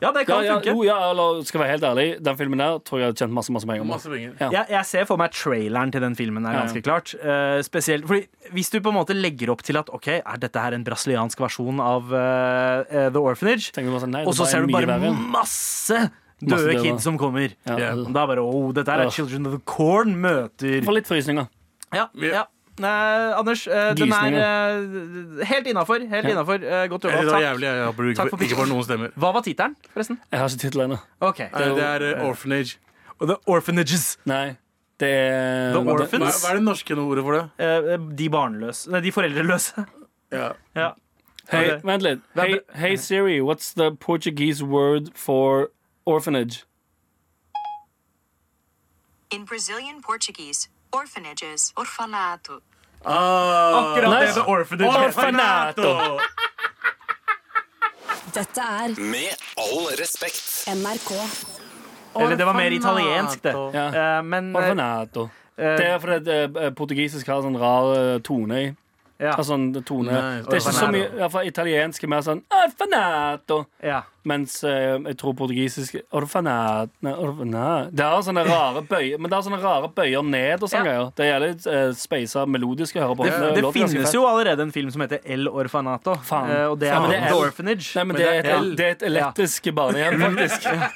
[SPEAKER 2] ja, det
[SPEAKER 3] ja,
[SPEAKER 2] kan
[SPEAKER 3] ja,
[SPEAKER 2] funke.
[SPEAKER 3] jo, ja, eller skal være helt ærlig, den filmen der tror jeg hadde tjent masse, masse penger på.
[SPEAKER 4] Masse penger.
[SPEAKER 3] Ja.
[SPEAKER 2] Ja, jeg ser for meg traileren til den filmen er
[SPEAKER 3] Ja, ja.
[SPEAKER 2] ganske klart. Eh, spesielt, fordi Hvis du på en måte legger opp til at ok, er dette her en brasiliansk versjon av eh, eh, The Orphanage,
[SPEAKER 3] Tenker du bare sånn, nei,
[SPEAKER 2] og
[SPEAKER 3] det
[SPEAKER 2] så
[SPEAKER 3] var
[SPEAKER 2] ser du
[SPEAKER 3] mye
[SPEAKER 2] bare
[SPEAKER 3] verre.
[SPEAKER 2] masse
[SPEAKER 3] Masse
[SPEAKER 2] døde
[SPEAKER 3] døde.
[SPEAKER 2] kids som kommer.
[SPEAKER 3] ja.
[SPEAKER 4] Ja.
[SPEAKER 2] Og Da er bare oh, dette her
[SPEAKER 3] Ja.
[SPEAKER 2] er Children of the Corn møter
[SPEAKER 3] Får litt frysninger.
[SPEAKER 2] Ja,
[SPEAKER 4] Ja.
[SPEAKER 2] ja. Nei, Anders, eh, den er eh, helt innafor. Helt
[SPEAKER 3] Ja.
[SPEAKER 2] innafor. Eh, godt
[SPEAKER 4] Eller,
[SPEAKER 2] jobba.
[SPEAKER 4] det var
[SPEAKER 2] Takk.
[SPEAKER 4] jævlig. Jeg håper du
[SPEAKER 2] Takk
[SPEAKER 4] ikke,
[SPEAKER 2] for
[SPEAKER 4] får- ikke får noen stemmer.
[SPEAKER 2] Hva var tittelen, forresten?
[SPEAKER 3] Jeg har ikke tittelen ennå.
[SPEAKER 2] Ok
[SPEAKER 4] Nei, det er eh, orphanage.
[SPEAKER 2] The Orphanages.
[SPEAKER 3] Nei. Det er
[SPEAKER 2] The
[SPEAKER 3] det-
[SPEAKER 2] Orphans.
[SPEAKER 4] Hva, hva er det norske ordet for det?
[SPEAKER 2] Eh, de barnløse Nei, de foreldreløse.
[SPEAKER 4] Ja.
[SPEAKER 2] Ja.
[SPEAKER 3] Hei,
[SPEAKER 2] Ok.
[SPEAKER 3] vent litt.
[SPEAKER 2] er
[SPEAKER 3] Hey,
[SPEAKER 2] bra-
[SPEAKER 3] hey Siri, what's the Portuguese word for orphanage?
[SPEAKER 1] In Brazilian Portuguese, orphanages, orfanato.
[SPEAKER 4] Ah,
[SPEAKER 2] Akkurat det
[SPEAKER 3] Nice.
[SPEAKER 2] The Orphanage
[SPEAKER 4] Orfanato!
[SPEAKER 6] Dette er
[SPEAKER 5] Med all respekt.
[SPEAKER 6] NRK.
[SPEAKER 2] Eller det var mer italiensk, det.
[SPEAKER 4] Orfanato.
[SPEAKER 3] Ja.
[SPEAKER 2] Eh, men eh,
[SPEAKER 3] Orfanato. Det
[SPEAKER 2] eh,
[SPEAKER 3] er fordi det, eh, portugisisk har sånn rar eh, tone i.
[SPEAKER 2] ja,
[SPEAKER 3] Altså, sånn tone.
[SPEAKER 4] Nei,
[SPEAKER 3] det er ikke så
[SPEAKER 2] orfanato.
[SPEAKER 3] mye, i hvert fall italiensk er mer sånn orfanato.
[SPEAKER 2] ja.
[SPEAKER 3] Mens eh, jeg tror portugisisk orfanat, nei, orfanat. Det har sånne rare bøyer Men det har sånne rare bøyer ned og sånne
[SPEAKER 2] Ja.
[SPEAKER 3] greier. Det gjelder uh, speisa melodisk å høre på.
[SPEAKER 2] Det, Eh, det
[SPEAKER 3] låter ganske
[SPEAKER 2] finnes
[SPEAKER 3] fett.
[SPEAKER 2] jo allerede en film som heter El Orfanato.
[SPEAKER 3] Faen.
[SPEAKER 2] eh, og det er
[SPEAKER 3] Faen.
[SPEAKER 2] The
[SPEAKER 3] L.
[SPEAKER 2] Orphanage.
[SPEAKER 3] Nei, men, det, er
[SPEAKER 4] det er
[SPEAKER 3] et,
[SPEAKER 4] L.
[SPEAKER 3] det er et elektrisk barnehjem, faktisk.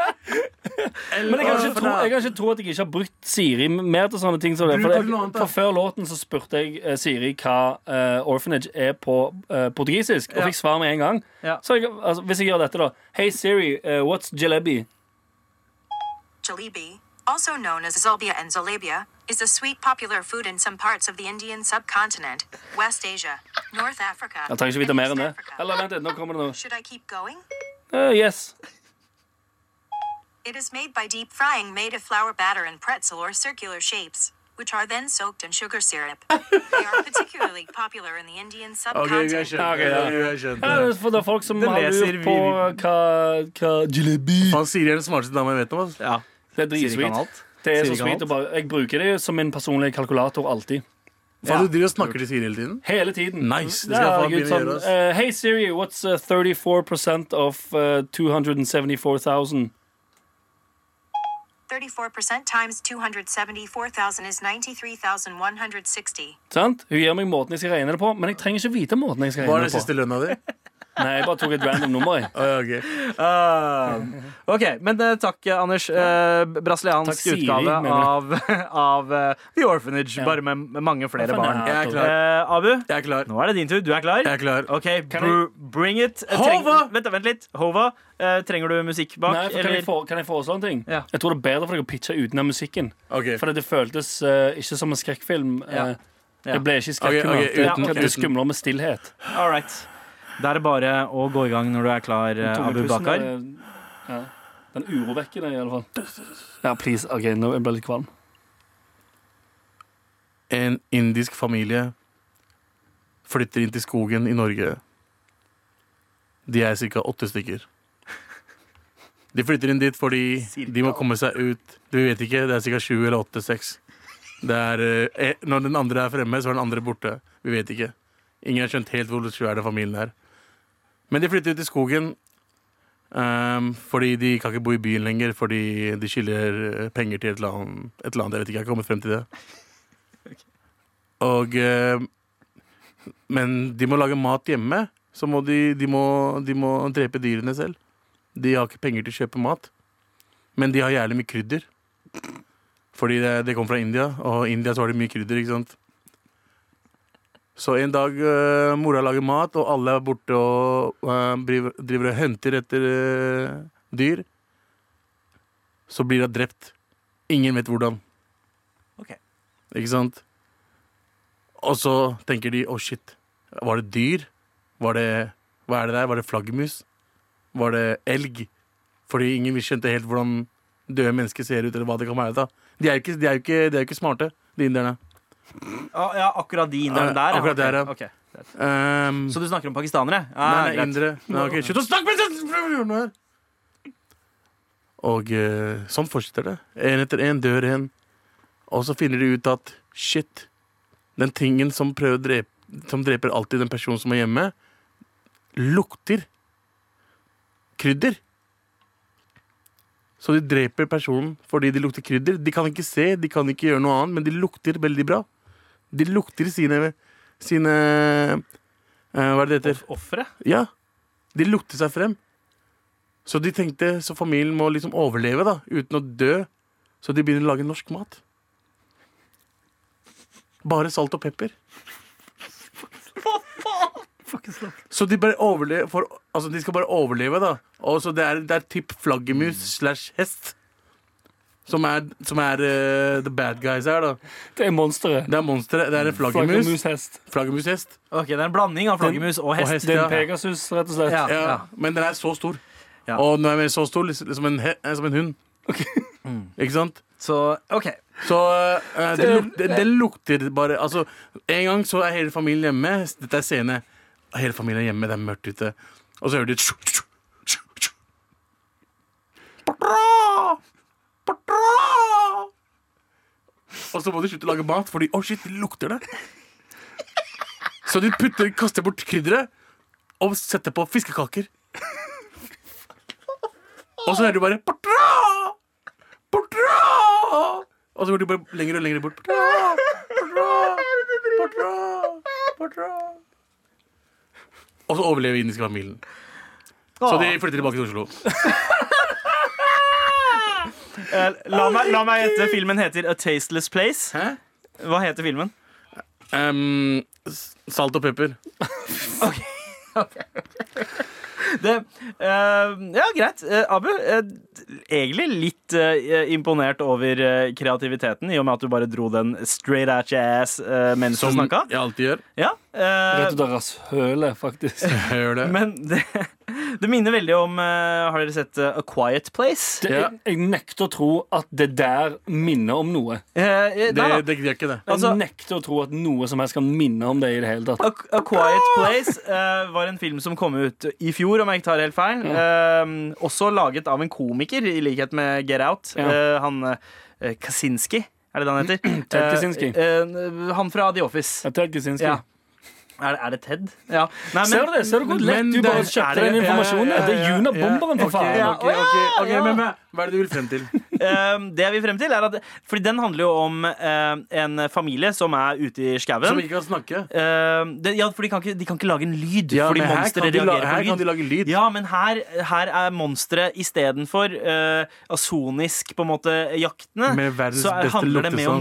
[SPEAKER 3] Men jeg kan, ikke tro, jeg kan ikke tro at jeg ikke har brukt Siri mer til sånne ting. Som det, for,
[SPEAKER 4] Bruk noe annet,
[SPEAKER 3] jeg,
[SPEAKER 4] da.
[SPEAKER 3] for Før låten så spurte jeg eh, Siri hva eh, orphanage er på eh, portugisisk, og
[SPEAKER 2] Ja.
[SPEAKER 3] fikk svar med en gang.
[SPEAKER 2] Ja.
[SPEAKER 3] Så jeg, altså, hvis jeg gjør dette, da Hey Siri, eh, what's jalebi?
[SPEAKER 1] Jalebi, also known as zalbia and zalabia, is a sweet popular food in some parts of the Indian subcontinent, West Asia, North Africa.
[SPEAKER 3] Jeg trenger ikke vite
[SPEAKER 1] and
[SPEAKER 3] mer enn det.
[SPEAKER 1] East Africa.
[SPEAKER 3] Eller vent litt, nå kommer det noe.
[SPEAKER 1] Should I keep going?
[SPEAKER 3] Eh, yes.
[SPEAKER 1] It is made by deep frying made of flour batter and pretzel or circular shapes, which are then soaked in sugar syrup. they are particularly popular in the Indian
[SPEAKER 4] OK, vi har
[SPEAKER 1] subcontinent.
[SPEAKER 4] skjønt
[SPEAKER 3] Ok,
[SPEAKER 4] det.
[SPEAKER 3] ja.
[SPEAKER 4] Vi har skjønt
[SPEAKER 3] Ja,
[SPEAKER 4] det.
[SPEAKER 3] det er Eh, for det er folk som
[SPEAKER 2] Det
[SPEAKER 3] har
[SPEAKER 2] leser
[SPEAKER 3] lurt på
[SPEAKER 2] vi-
[SPEAKER 3] hva, hva jalebi
[SPEAKER 4] Han Siri er den smarteste dama jeg vet om. Altså.
[SPEAKER 2] Ja.
[SPEAKER 3] Det er
[SPEAKER 2] Siri kan
[SPEAKER 3] dritsweet.
[SPEAKER 2] alt.
[SPEAKER 3] Det er
[SPEAKER 2] Siri
[SPEAKER 3] så
[SPEAKER 2] kan
[SPEAKER 3] sweet
[SPEAKER 2] alt.
[SPEAKER 3] å bare, jeg bruker det som min personlige kalkulator alltid.
[SPEAKER 4] Faen, du driver og snakker til Siri hele tiden?
[SPEAKER 3] Hele tiden.
[SPEAKER 4] Nice! Det skal jeg
[SPEAKER 3] Ja,
[SPEAKER 4] faen
[SPEAKER 3] Gud,
[SPEAKER 4] begynne å
[SPEAKER 3] sånn,
[SPEAKER 4] gjøre. ass.
[SPEAKER 3] eh, hey Siri, what's eh, 34 of eh, 274,000?
[SPEAKER 1] 34% times 274,000 is 93,160.
[SPEAKER 3] Sant? Hun gir meg måten jeg skal regne det på, men jeg trenger ikke vite måten jeg skal
[SPEAKER 4] Hva er
[SPEAKER 3] regne
[SPEAKER 4] den
[SPEAKER 3] det på.
[SPEAKER 4] siste lønna di?
[SPEAKER 3] Nei, jeg bare tok et random nummer. Jeg.
[SPEAKER 4] Å, ja, ok.
[SPEAKER 2] Ah, OK. Men eh, takk, eh, Anders. Eh, brasiliansk
[SPEAKER 3] Takk, Siri,
[SPEAKER 2] utgave
[SPEAKER 3] mener
[SPEAKER 2] av, av eh, The Orphanage,
[SPEAKER 3] Ja.
[SPEAKER 2] bare med med mange flere
[SPEAKER 3] Ja,
[SPEAKER 2] barn.
[SPEAKER 4] Jeg er klar.
[SPEAKER 2] Eh, Abu,
[SPEAKER 4] Jeg er klar.
[SPEAKER 2] nå er det din tur. Du er klar?
[SPEAKER 4] Jeg er klar.
[SPEAKER 2] OK,
[SPEAKER 3] Kan
[SPEAKER 2] br bring it. Eh,
[SPEAKER 4] Hova!
[SPEAKER 2] Vent, da, vent litt. Hova, eh, trenger du musikk bak?
[SPEAKER 3] Nei, for kan, jeg
[SPEAKER 2] eller?
[SPEAKER 3] få, kan jeg foreslå en ting?
[SPEAKER 2] Ja.
[SPEAKER 3] Jeg tror det er bedre for deg å pitche utenom musikken.
[SPEAKER 4] Ok.
[SPEAKER 3] For det føltes eh, ikke som en skrekkfilm.
[SPEAKER 2] Ja.
[SPEAKER 3] Eh,
[SPEAKER 2] Ja.
[SPEAKER 3] Jeg ble ikke skrekkfilm.
[SPEAKER 4] Ok, ok,
[SPEAKER 3] det
[SPEAKER 2] uten-
[SPEAKER 3] det
[SPEAKER 4] uten-
[SPEAKER 3] er skumlere med stillhet.
[SPEAKER 2] All right. Da er det bare å gå i gang når du er klar, eh, Abu
[SPEAKER 3] Tungepusten
[SPEAKER 2] Bakar.
[SPEAKER 3] er- Ja. Den urovekkende, i alle fall. Ja, please. OK, nå jeg ble jeg litt kvalm.
[SPEAKER 4] En indisk familie flytter inn til skogen i Norge. De er ca. åtte stykker. De flytter inn dit fordi de må komme seg ut. Vi vet ikke, det er ca. sju eller åtte, seks. Det er, eh, når den andre er fremme, så er den andre borte. Vi vet ikke. Ingen har skjønt helt hvor svær den familien er. Men de flytter ut i skogen ehm, fordi de kan ikke bo i byen lenger, fordi de skylder eh, penger til et eller annet. Et eller annet. Jeg vet ikke, jeg har ikke kommet frem til det. Og eh, Men de må lage mat hjemme. Så må de, de, må, de må drepe dyrene selv. De har ikke penger til å kjøpe mat. Men de har jævlig mye krydder. Fordi det, det kommer fra India, og i India så har de mye krydder. ikke sant? Så en dag eh, mora lager mat, og alle er borte og eh, driver, driver og henter etter eh, dyr. Så blir hun drept. Ingen vet hvordan.
[SPEAKER 2] Ok.
[SPEAKER 4] Ikke sant? Og så tenker de 'å, shit'. Var det dyr? Var det, hva er det der? Var det flaggermus? Var det elg? Fordi ingen skjønte helt hvordan døde mennesker ser ut, eller hva det kan være. da De er jo ikke, de er jo ikke, de er jo ikke smarte, de inderne.
[SPEAKER 2] Ah, Ja, akkurat de innerne
[SPEAKER 4] Ja,
[SPEAKER 2] der. ja.
[SPEAKER 4] Eh, akkurat der, ja.
[SPEAKER 2] Ok, ok.
[SPEAKER 4] Um,
[SPEAKER 2] Så du snakker om pakistanere? Ah,
[SPEAKER 4] nei, nei,
[SPEAKER 2] greit.
[SPEAKER 4] indre. Nei, ok, Slutt å snakke med meg! Og eh, sånn fortsetter det. En etter en dør en. Og så finner de ut at shit, den tingen som prøver å drepe som dreper alltid den personen som er hjemme, lukter krydder. Så de dreper personen fordi de lukter krydder. De kan ikke se, de kan ikke gjøre noe annet, men de lukter veldig bra. De lukter sine, sine eh, Hva er det det heter?
[SPEAKER 2] Off- Offre?
[SPEAKER 4] Ja, de lukter seg frem. Så de tenkte så familien må liksom overleve da, uten å dø. Så de begynner å lage norsk mat. Bare salt og pepper. Så de bare overlever for, Altså de skal bare overleve, da. Og så det er, det er typ flaggermus slash hest. Som er, som er eh, the bad guys her, da.
[SPEAKER 3] Det er monsteret.
[SPEAKER 4] Det er monsteret. Det er en flaggermus.
[SPEAKER 3] Flaggermushest.
[SPEAKER 4] Flaggermushest.
[SPEAKER 2] Ok, Det er en blanding av flaggermus og hest.
[SPEAKER 3] Det er
[SPEAKER 4] ja.
[SPEAKER 3] en pegasus, rett og slett.
[SPEAKER 2] Ja.
[SPEAKER 4] Ah, Ja, men den er så stor.
[SPEAKER 2] Ja.
[SPEAKER 4] Og når jeg er så stor, liksom, som, en he, eh, som en hund. Ikke sant?
[SPEAKER 2] Så OK.
[SPEAKER 4] Så eh, det, luk, det, det lukter bare Altså, en gang så er hele familien hjemme. Dette er scene. Hele familien er hjemme, det er mørkt ute. Og så hører de tju, tju, tju, tju. Patra! Patra! Og så må de slutte å lage mat, fordi å shit, det lukter det. Så de putter, kaster bort krydderet og setter på fiskekaker. Og så hører du bare Portra! Portra! Og så går de bare lenger og lenger bort. Portra! Portra! Portra! Portra! Og så overlever indiske familien. Så de flytter tilbake til Oslo.
[SPEAKER 2] Eh, La meg, la meg gjette. Filmen heter A Tasteless Place.
[SPEAKER 4] Hæ?
[SPEAKER 2] Hva heter filmen?
[SPEAKER 4] Ehm, s- salt og pepper.
[SPEAKER 2] Det, eh, ja, greit. Eh, Abu, eh, egentlig litt eh, imponert over eh, kreativiteten, i og med at du bare dro den straight at your ass eh, mens
[SPEAKER 4] Som
[SPEAKER 2] du snakka.
[SPEAKER 4] jeg alltid gjør.
[SPEAKER 2] Ja, eh,
[SPEAKER 3] Rett ut av rasshølet, faktisk.
[SPEAKER 4] Jeg gjør det.
[SPEAKER 2] men det, det minner veldig om eh, Har dere sett eh, A Quiet Place?
[SPEAKER 3] Det,
[SPEAKER 4] Ja.
[SPEAKER 3] jeg, jeg nekter å tro at det der minner om noe.
[SPEAKER 2] Eh, eh,
[SPEAKER 4] det,
[SPEAKER 2] nei da.
[SPEAKER 4] det, det gjør ikke det.
[SPEAKER 3] Jeg
[SPEAKER 2] Altså-
[SPEAKER 3] nekter å tro at noe som helst kan minne om det i det hele
[SPEAKER 4] Altså-
[SPEAKER 3] tatt.
[SPEAKER 2] A, A Quiet Place eh, var en film som kom ut i fjor, om jeg ikke tar helt feil. Eh, også laget av en komiker, i likhet med Get Out.
[SPEAKER 3] Ja.
[SPEAKER 2] Eh, han eh, Kaczynski, er det det han heter?
[SPEAKER 3] Ted Kaczynski.
[SPEAKER 2] Eh, eh, han fra The Office.
[SPEAKER 3] Jeg tenker, Kaczynski.
[SPEAKER 2] Ja. Er, det- er det Ted? Ja. Nei, men-
[SPEAKER 3] Ser du det? Ser du hvor lett
[SPEAKER 4] Men
[SPEAKER 3] du bare
[SPEAKER 4] det- er
[SPEAKER 3] kjøpte
[SPEAKER 4] det-
[SPEAKER 3] den informasjonen?
[SPEAKER 4] ja, ja, ja,
[SPEAKER 3] Det er Juna
[SPEAKER 4] ja.
[SPEAKER 3] Bomberen, for
[SPEAKER 4] Ok,
[SPEAKER 3] faen.
[SPEAKER 4] ok, ok, ok, men men, Hva er det du vil frem til?
[SPEAKER 2] Ehm, det jeg vil frem til er at Fordi den handler jo om ehm, en familie som er ute i
[SPEAKER 4] Som
[SPEAKER 2] skauen.
[SPEAKER 4] ikke kan snakke?
[SPEAKER 2] Ehm, det- ja, for de kan, ikke, de kan ikke lage en lyd.
[SPEAKER 4] Ja,
[SPEAKER 2] fordi
[SPEAKER 4] men her
[SPEAKER 2] monstre
[SPEAKER 4] kan, de la,
[SPEAKER 2] reagerer
[SPEAKER 4] her
[SPEAKER 2] på
[SPEAKER 4] kan de
[SPEAKER 2] lyd.
[SPEAKER 4] lage lyd.
[SPEAKER 2] Ja, men her, her er monstre istedenfor uh, asonisk på en måte jaktene.
[SPEAKER 4] Med verdens
[SPEAKER 2] så
[SPEAKER 4] beste
[SPEAKER 2] handler det mer om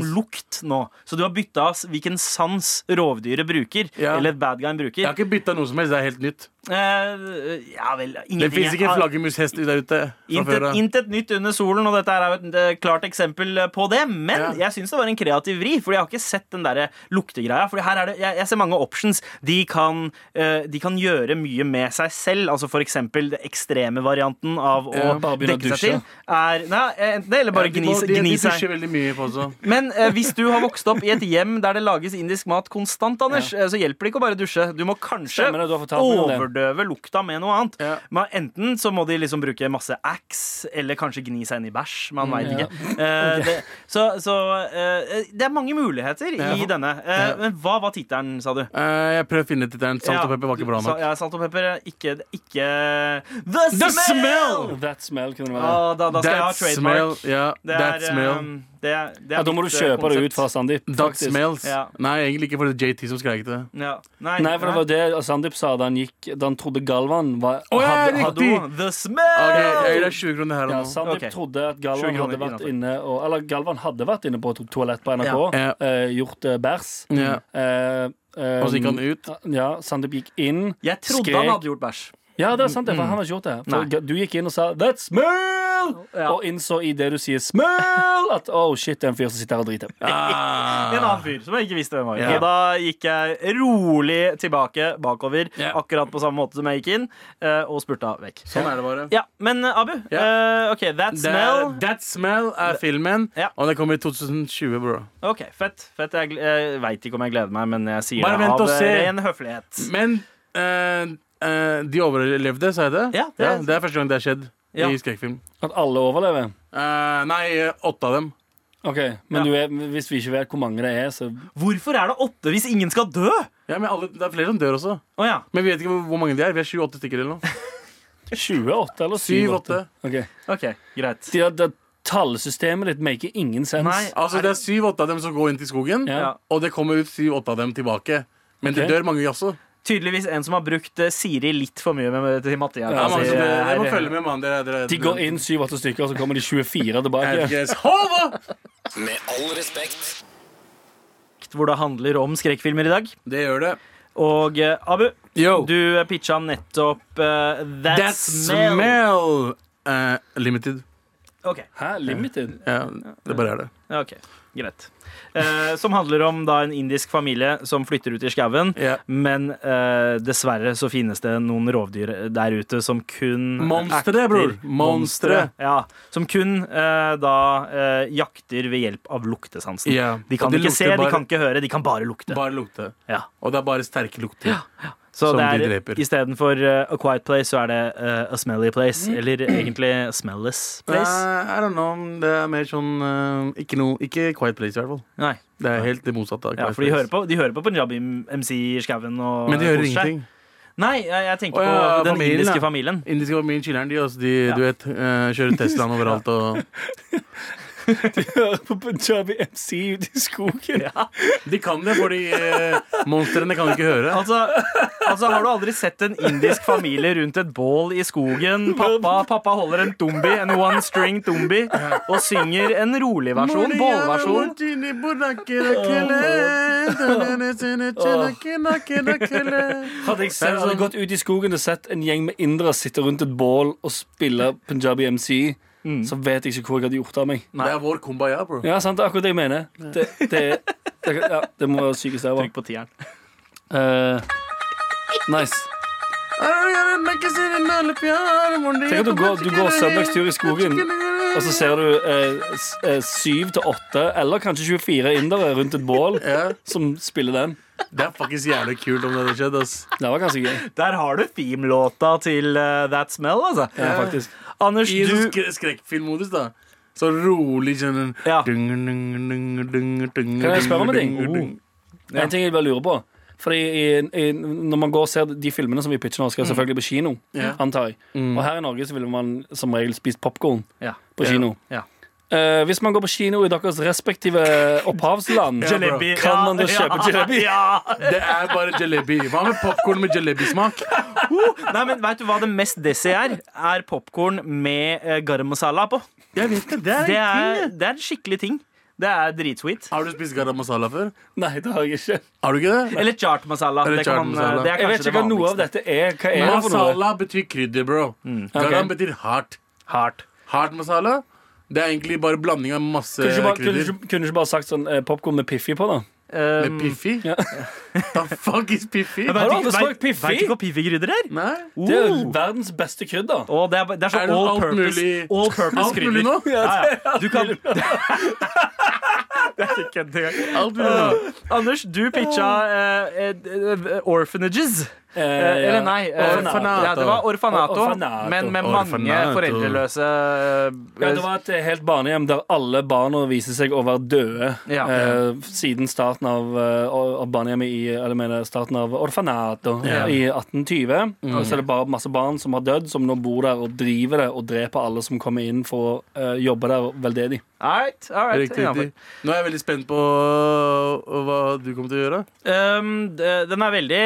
[SPEAKER 2] lukt
[SPEAKER 4] luktesans.
[SPEAKER 2] nå. Så du har bytta hvilken sans rovdyret bruker.
[SPEAKER 4] Ja.
[SPEAKER 2] Eller bad guyen bruker.
[SPEAKER 4] Jeg har ikke bytta noe som helst. Det er helt nytt.
[SPEAKER 2] Eh, ja vel, ingenting
[SPEAKER 4] Det fins
[SPEAKER 2] er-
[SPEAKER 4] ikke en flaggermushest der ute. fra før
[SPEAKER 2] Intet,
[SPEAKER 4] av.
[SPEAKER 2] intet nytt under solen, og dette er jo et eh, klart eksempel på det. Men
[SPEAKER 4] Ja.
[SPEAKER 2] jeg syns det var en kreativ vri, Fordi jeg har ikke sett den der luktegreia. Fordi her er det, jeg, jeg ser mange options. De kan, eh, de kan gjøre mye med seg selv. Altså for eksempel den ekstreme varianten av å
[SPEAKER 4] Ja,
[SPEAKER 3] bare begynne å
[SPEAKER 2] dekke seg
[SPEAKER 3] dusje.
[SPEAKER 2] til. Er, nei, eh, enten det, eller bare
[SPEAKER 4] Ja, de
[SPEAKER 2] gni,
[SPEAKER 4] må- de-
[SPEAKER 2] gni
[SPEAKER 4] De
[SPEAKER 2] seg.
[SPEAKER 4] dusjer veldig mye på også.
[SPEAKER 2] Men eh, hvis du har vokst opp i et hjem der det lages indisk mat konstant, Anders, eh, så hjelper det ikke å bare dusje. Du må kanskje
[SPEAKER 3] Stemmer det, du har fortalt meg om det.
[SPEAKER 2] overdøve lukta med noe annet.
[SPEAKER 4] Ja.
[SPEAKER 2] Men enten så må de liksom bruke masse ax, eller kanskje gni seg inn i bæsj. Man veit
[SPEAKER 3] Mm, ja.
[SPEAKER 2] ikke. Eh, det, så så eh, det er mange muligheter i
[SPEAKER 4] Ja.
[SPEAKER 2] denne. Eh,
[SPEAKER 4] Ja.
[SPEAKER 2] Men hva var tittelen, sa du?
[SPEAKER 4] Eh, jeg prøvde å finne tittelen. Salt og
[SPEAKER 2] Ja,
[SPEAKER 4] pepper var ikke
[SPEAKER 2] du
[SPEAKER 4] bra
[SPEAKER 2] sa-
[SPEAKER 4] nok.
[SPEAKER 2] Ja, salt og pepper. eh, Ikke, ikke The, smell!
[SPEAKER 3] That smell kunne det være.
[SPEAKER 2] Å, da, da skal jeg ha
[SPEAKER 4] That smell.
[SPEAKER 2] trademark.
[SPEAKER 4] Ja,
[SPEAKER 2] Det
[SPEAKER 4] that
[SPEAKER 2] er,
[SPEAKER 4] smell.
[SPEAKER 2] um, det er, det er
[SPEAKER 3] Ja, da må du
[SPEAKER 2] mitt, eh,
[SPEAKER 3] kjøpe det
[SPEAKER 2] konsept.
[SPEAKER 3] ut fra Sandeep.
[SPEAKER 4] That
[SPEAKER 3] faktisk.
[SPEAKER 4] smells.
[SPEAKER 2] Ja.
[SPEAKER 4] Nei, egentlig ikke, for det er JT som skrek det.
[SPEAKER 2] Ja. Nei,
[SPEAKER 3] Nei, for det var det Sandeep sa da han gikk Da han trodde Galvan var
[SPEAKER 4] Å, ja,
[SPEAKER 3] hadde,
[SPEAKER 4] riktig.
[SPEAKER 3] hadde,
[SPEAKER 2] Hallo, the smell!
[SPEAKER 4] Ok, jeg gir deg 20 kroner her og
[SPEAKER 3] ja,
[SPEAKER 4] nå.
[SPEAKER 3] Sandeep
[SPEAKER 2] Ok.
[SPEAKER 3] trodde at
[SPEAKER 2] 20
[SPEAKER 3] Galvan
[SPEAKER 2] kroner
[SPEAKER 3] hadde vært
[SPEAKER 2] innenfor.
[SPEAKER 3] inne og, Eller Galvan hadde vært inne på et toalett på NRK,
[SPEAKER 4] Ja.
[SPEAKER 3] eh, gjort eh, bæsj.
[SPEAKER 4] Ja.
[SPEAKER 3] Eh, eh,
[SPEAKER 4] Og så gikk han ut.
[SPEAKER 3] Ja, Sandeep gikk inn.
[SPEAKER 2] Jeg trodde
[SPEAKER 3] Skrek.
[SPEAKER 2] han hadde gjort bæsj.
[SPEAKER 3] Ja, det er sant, det,
[SPEAKER 4] Mm.
[SPEAKER 3] for han har ikke gjort det.
[SPEAKER 2] Nei.
[SPEAKER 3] For du gikk inn og sa 'that smell',
[SPEAKER 2] Ja.
[SPEAKER 3] og innså i det du sier 'smell', at 'oh shit, det er en fyr som sitter her og driter'.
[SPEAKER 4] Ah.
[SPEAKER 2] En annen fyr som jeg ikke visste hvem var.
[SPEAKER 4] Ja.
[SPEAKER 2] Og da gikk jeg rolig tilbake bakover,
[SPEAKER 4] Ja.
[SPEAKER 2] akkurat på samme måte som jeg gikk inn, eh, og spurta vekk.
[SPEAKER 4] Sånn er det bare.
[SPEAKER 2] Ja, men eh, Abu, eh, OK, that
[SPEAKER 4] Det
[SPEAKER 2] smell.
[SPEAKER 4] er, that smell er filmen,
[SPEAKER 2] Ja.
[SPEAKER 4] og den kommer i 2020, bro.
[SPEAKER 2] OK, fett. fett. Jeg, gl- jeg veit ikke om jeg gleder meg, men jeg sier
[SPEAKER 4] Bare
[SPEAKER 2] det
[SPEAKER 4] vent
[SPEAKER 2] av
[SPEAKER 4] og
[SPEAKER 2] eh,
[SPEAKER 4] se.
[SPEAKER 2] ren høflighet.
[SPEAKER 4] Men eh, eh, de overlevde, sa jeg det?
[SPEAKER 2] Ja, det er-
[SPEAKER 4] det er første gang det har skjedd
[SPEAKER 2] Ja.
[SPEAKER 4] i skrekkfilm.
[SPEAKER 3] At alle overlever.
[SPEAKER 4] Eh, nei, eh, åtte av dem.
[SPEAKER 3] Ok,
[SPEAKER 2] Ja.
[SPEAKER 3] Men du vet- hvis vi ikke vet hvor mange det er, så
[SPEAKER 2] Hvorfor er det åtte hvis ingen skal dø? Å
[SPEAKER 4] Ja, men alle, det er flere som dør også.
[SPEAKER 2] ja.
[SPEAKER 4] Men vi vet ikke hvor, hvor mange de er. Vi er 7-8 stykker eller noe.
[SPEAKER 3] 28 eller 7-8?
[SPEAKER 4] 7-8
[SPEAKER 3] Ok.
[SPEAKER 2] OK, greit.
[SPEAKER 3] De, det tallsystemet ditt maker ingen sens.
[SPEAKER 2] Nei.
[SPEAKER 4] Altså, det er 7-8 av dem som går inn til skogen,
[SPEAKER 3] Ja.
[SPEAKER 4] og det kommer ut 7-8 av dem tilbake. Men
[SPEAKER 3] Ok.
[SPEAKER 4] det dør mange også.
[SPEAKER 2] Tydeligvis en som har brukt eh, Siri litt for mye med, med, til Mattia.
[SPEAKER 4] Ja, men, altså,
[SPEAKER 2] Altså,
[SPEAKER 4] det, det må
[SPEAKER 2] er-
[SPEAKER 4] følge med, mann. Dere- dere-
[SPEAKER 3] De går inn 7-8 stykker, og så kommer de 24
[SPEAKER 4] Jeg
[SPEAKER 3] tilbake.
[SPEAKER 4] vet ikke. Hova!
[SPEAKER 5] Med all respekt.
[SPEAKER 2] hvor det handler om skrekkfilmer i dag.
[SPEAKER 4] Det gjør det.
[SPEAKER 2] Og eh, Abu,
[SPEAKER 4] Yo.
[SPEAKER 2] du eh, pitcha nettopp eh, That,
[SPEAKER 4] That
[SPEAKER 2] Smell.
[SPEAKER 4] smell eh, Limited.
[SPEAKER 2] Ok,
[SPEAKER 3] Hæ? Limited?
[SPEAKER 4] Ja, det bare er det.
[SPEAKER 2] ok, greit. Eh, som handler om da en indisk familie som flytter ut i skauen.
[SPEAKER 4] Ja.
[SPEAKER 2] Men eh, dessverre så finnes det noen rovdyr der ute som kun
[SPEAKER 4] Monstre, bror. Monstre.
[SPEAKER 2] Ja, som kun eh, da eh, jakter ved hjelp av luktesansen.
[SPEAKER 4] Ja,
[SPEAKER 2] De
[SPEAKER 4] og
[SPEAKER 2] kan
[SPEAKER 4] de
[SPEAKER 2] ikke se,
[SPEAKER 4] lukter bare-
[SPEAKER 2] de kan ikke høre, de kan bare lukte.
[SPEAKER 4] Bare lukte.
[SPEAKER 2] Ja.
[SPEAKER 4] Og det er bare sterke lukter.
[SPEAKER 2] Så
[SPEAKER 4] Som
[SPEAKER 2] det
[SPEAKER 4] de
[SPEAKER 2] er
[SPEAKER 4] dreper.
[SPEAKER 2] istedenfor uh, A Quiet Place, så er det eh, A Smelly Place. Eller egentlig A Smellless Place.
[SPEAKER 4] Eh, I don't know. Det er mer sånn eh, ikke, noe, ikke Quiet Place, i hvert fall.
[SPEAKER 2] Nei,
[SPEAKER 4] Det er helt det motsatte. av
[SPEAKER 2] ja,
[SPEAKER 4] Quiet
[SPEAKER 2] for de hører
[SPEAKER 4] Place.
[SPEAKER 2] på, de hører på Punjabi MC i skauen. og
[SPEAKER 4] Men de hører
[SPEAKER 2] koser seg.
[SPEAKER 4] ingenting.
[SPEAKER 2] Nei, jeg, jeg tenker
[SPEAKER 4] Å, ja,
[SPEAKER 2] på den
[SPEAKER 4] familien,
[SPEAKER 2] indiske
[SPEAKER 4] ja.
[SPEAKER 2] familien.
[SPEAKER 4] Indiske var mye chiller'n, de. Altså, de Du vet, eh, kjører Teslaen overalt og
[SPEAKER 3] Hører på Punjabi MC ute i skogen.
[SPEAKER 4] De kan det, fordi eh, monstrene kan ikke høre.
[SPEAKER 2] Altså, altså, Har du aldri sett en indisk familie rundt et bål i skogen? Pappa, pappa holder en dumbi, en one string dumbi, og synger en rolig versjon, bålversjon.
[SPEAKER 3] Hadde jeg selv hadde jeg gått ut i skogen og sett en gjeng med indere sitte rundt et bål og spille Punjabi MC, så vet jeg ikke hvor jeg hadde gjort av meg.
[SPEAKER 4] Det er vår kumbaya, bro.
[SPEAKER 3] Ja, sant, det er akkurat det jeg mener. Det, det, det, ja, det må være sykest der,
[SPEAKER 2] Trykk på tieren.
[SPEAKER 3] Eh, nice. Tenk at du går, du går søndagstur i skogen, og så ser du eh, s- eh, syv til åtte, eller kanskje 24 indere rundt et bål
[SPEAKER 4] Ja.
[SPEAKER 3] som spiller den.
[SPEAKER 4] Det er faktisk jævlig kult om det hadde skjedd. ass.
[SPEAKER 3] Det var ganske gøy.
[SPEAKER 2] Der har du theme-låta til eh, That Smell, altså.
[SPEAKER 3] Ja, faktisk.
[SPEAKER 2] Anders,
[SPEAKER 4] I en sånn
[SPEAKER 2] du
[SPEAKER 4] skre skrekkfilmmodus, da. Så rolig sånn en-
[SPEAKER 2] Ja.
[SPEAKER 4] Dung, dung, dung, dung, dung,
[SPEAKER 3] Kan jeg spørre om en
[SPEAKER 4] dung,
[SPEAKER 3] ting?
[SPEAKER 4] dung, dung.
[SPEAKER 3] En ting jeg bare lurer på. Fordi i, i, når man går og ser de filmene som vi pitcher
[SPEAKER 2] Mm.
[SPEAKER 3] nå, skal selvfølgelig på kino, antar jeg. Og her i Norge så ville man som regel spist popkorn
[SPEAKER 2] Ja.
[SPEAKER 3] på kino.
[SPEAKER 2] Ja.
[SPEAKER 3] Eh, hvis man går på kino i deres respektive opphavsland,
[SPEAKER 2] Jalebi.
[SPEAKER 3] kan man da
[SPEAKER 2] Ja,
[SPEAKER 3] kjøpe jalebi?
[SPEAKER 2] Ja.
[SPEAKER 4] Det er bare jalebi. Hva med popkorn med jalebi-smak?
[SPEAKER 2] Nei, men Vet du hva det mest desi er? Er popkorn med eh, garam masala på.
[SPEAKER 4] Jeg vet ikke, det er,
[SPEAKER 2] Det
[SPEAKER 4] en
[SPEAKER 2] er,
[SPEAKER 4] ting, det.
[SPEAKER 2] det er en skikkelig ting. Det er dritsweet.
[SPEAKER 4] Har du spist garam masala før?
[SPEAKER 3] Nei, det har jeg ikke.
[SPEAKER 4] Har du ikke det?
[SPEAKER 2] Eller chart masala.
[SPEAKER 4] Eller
[SPEAKER 2] det, kan
[SPEAKER 4] chaat
[SPEAKER 2] man, eh,
[SPEAKER 4] masala.
[SPEAKER 2] det er
[SPEAKER 3] Jeg
[SPEAKER 2] kanskje
[SPEAKER 3] vet ikke
[SPEAKER 2] det
[SPEAKER 3] hva noe
[SPEAKER 2] vanligste.
[SPEAKER 3] av dette er. Hva er det for noe?
[SPEAKER 4] Masala betyr krydder, bro.
[SPEAKER 2] Mm,
[SPEAKER 4] Garam
[SPEAKER 3] Ok.
[SPEAKER 4] betyr hardt.
[SPEAKER 2] Hardt.
[SPEAKER 4] Hard masala Det er egentlig bare blanding av masse
[SPEAKER 3] Kunne du ikke bare, kunne, du
[SPEAKER 4] krydder.
[SPEAKER 3] ikke- kunne du ikke bare sagt sånn eh, popkorn med Piffi på, da?
[SPEAKER 2] Um,
[SPEAKER 4] Med Piffi?
[SPEAKER 3] Ja.
[SPEAKER 4] The fuck is Piffi?
[SPEAKER 2] vet
[SPEAKER 3] Har du
[SPEAKER 2] ikke-
[SPEAKER 3] aldri
[SPEAKER 2] vet-
[SPEAKER 3] smakt piffi?
[SPEAKER 2] Vet du ikke hva piffikrydder er?
[SPEAKER 4] Nei?
[SPEAKER 3] Det er jo
[SPEAKER 2] Oh.
[SPEAKER 3] verdens beste krydder.
[SPEAKER 2] Å, det, er, det er så
[SPEAKER 4] Er det
[SPEAKER 2] all
[SPEAKER 4] alt
[SPEAKER 2] purpose,
[SPEAKER 4] mulig-
[SPEAKER 2] all purpose
[SPEAKER 4] Alt mulig
[SPEAKER 2] krydder.
[SPEAKER 4] nå?
[SPEAKER 2] Ja, ja. Du kan Det er ikke en ting.
[SPEAKER 4] Alt mulig nå.
[SPEAKER 2] Anders, du pitcha eh, eh, eh, orphanages.
[SPEAKER 3] Eh,
[SPEAKER 2] Eh, Eller nei. eh,
[SPEAKER 4] Orfanato.
[SPEAKER 2] Ja, det var orfanato,
[SPEAKER 3] Orfanato.
[SPEAKER 2] men med mange
[SPEAKER 4] Orfanato.
[SPEAKER 2] foreldreløse eh,
[SPEAKER 3] Ja, det var et helt barnehjem der alle barna viste seg å være døde
[SPEAKER 2] Ja.
[SPEAKER 3] eh, siden starten av, eh, av barnehjemmet i Eller jeg mener starten av orfanatet
[SPEAKER 4] Ja.
[SPEAKER 3] i 1820. Og så er det bare masse barn som har dødd, som nå bor der og driver det og dreper alle som kommer inn for å eh, jobbe der veldedig.
[SPEAKER 2] all right, all right,
[SPEAKER 4] Riktig,
[SPEAKER 2] innenfor.
[SPEAKER 4] riktig. Nå er jeg veldig spent på hva du kommer til å gjøre.
[SPEAKER 2] Um, d- den er veldig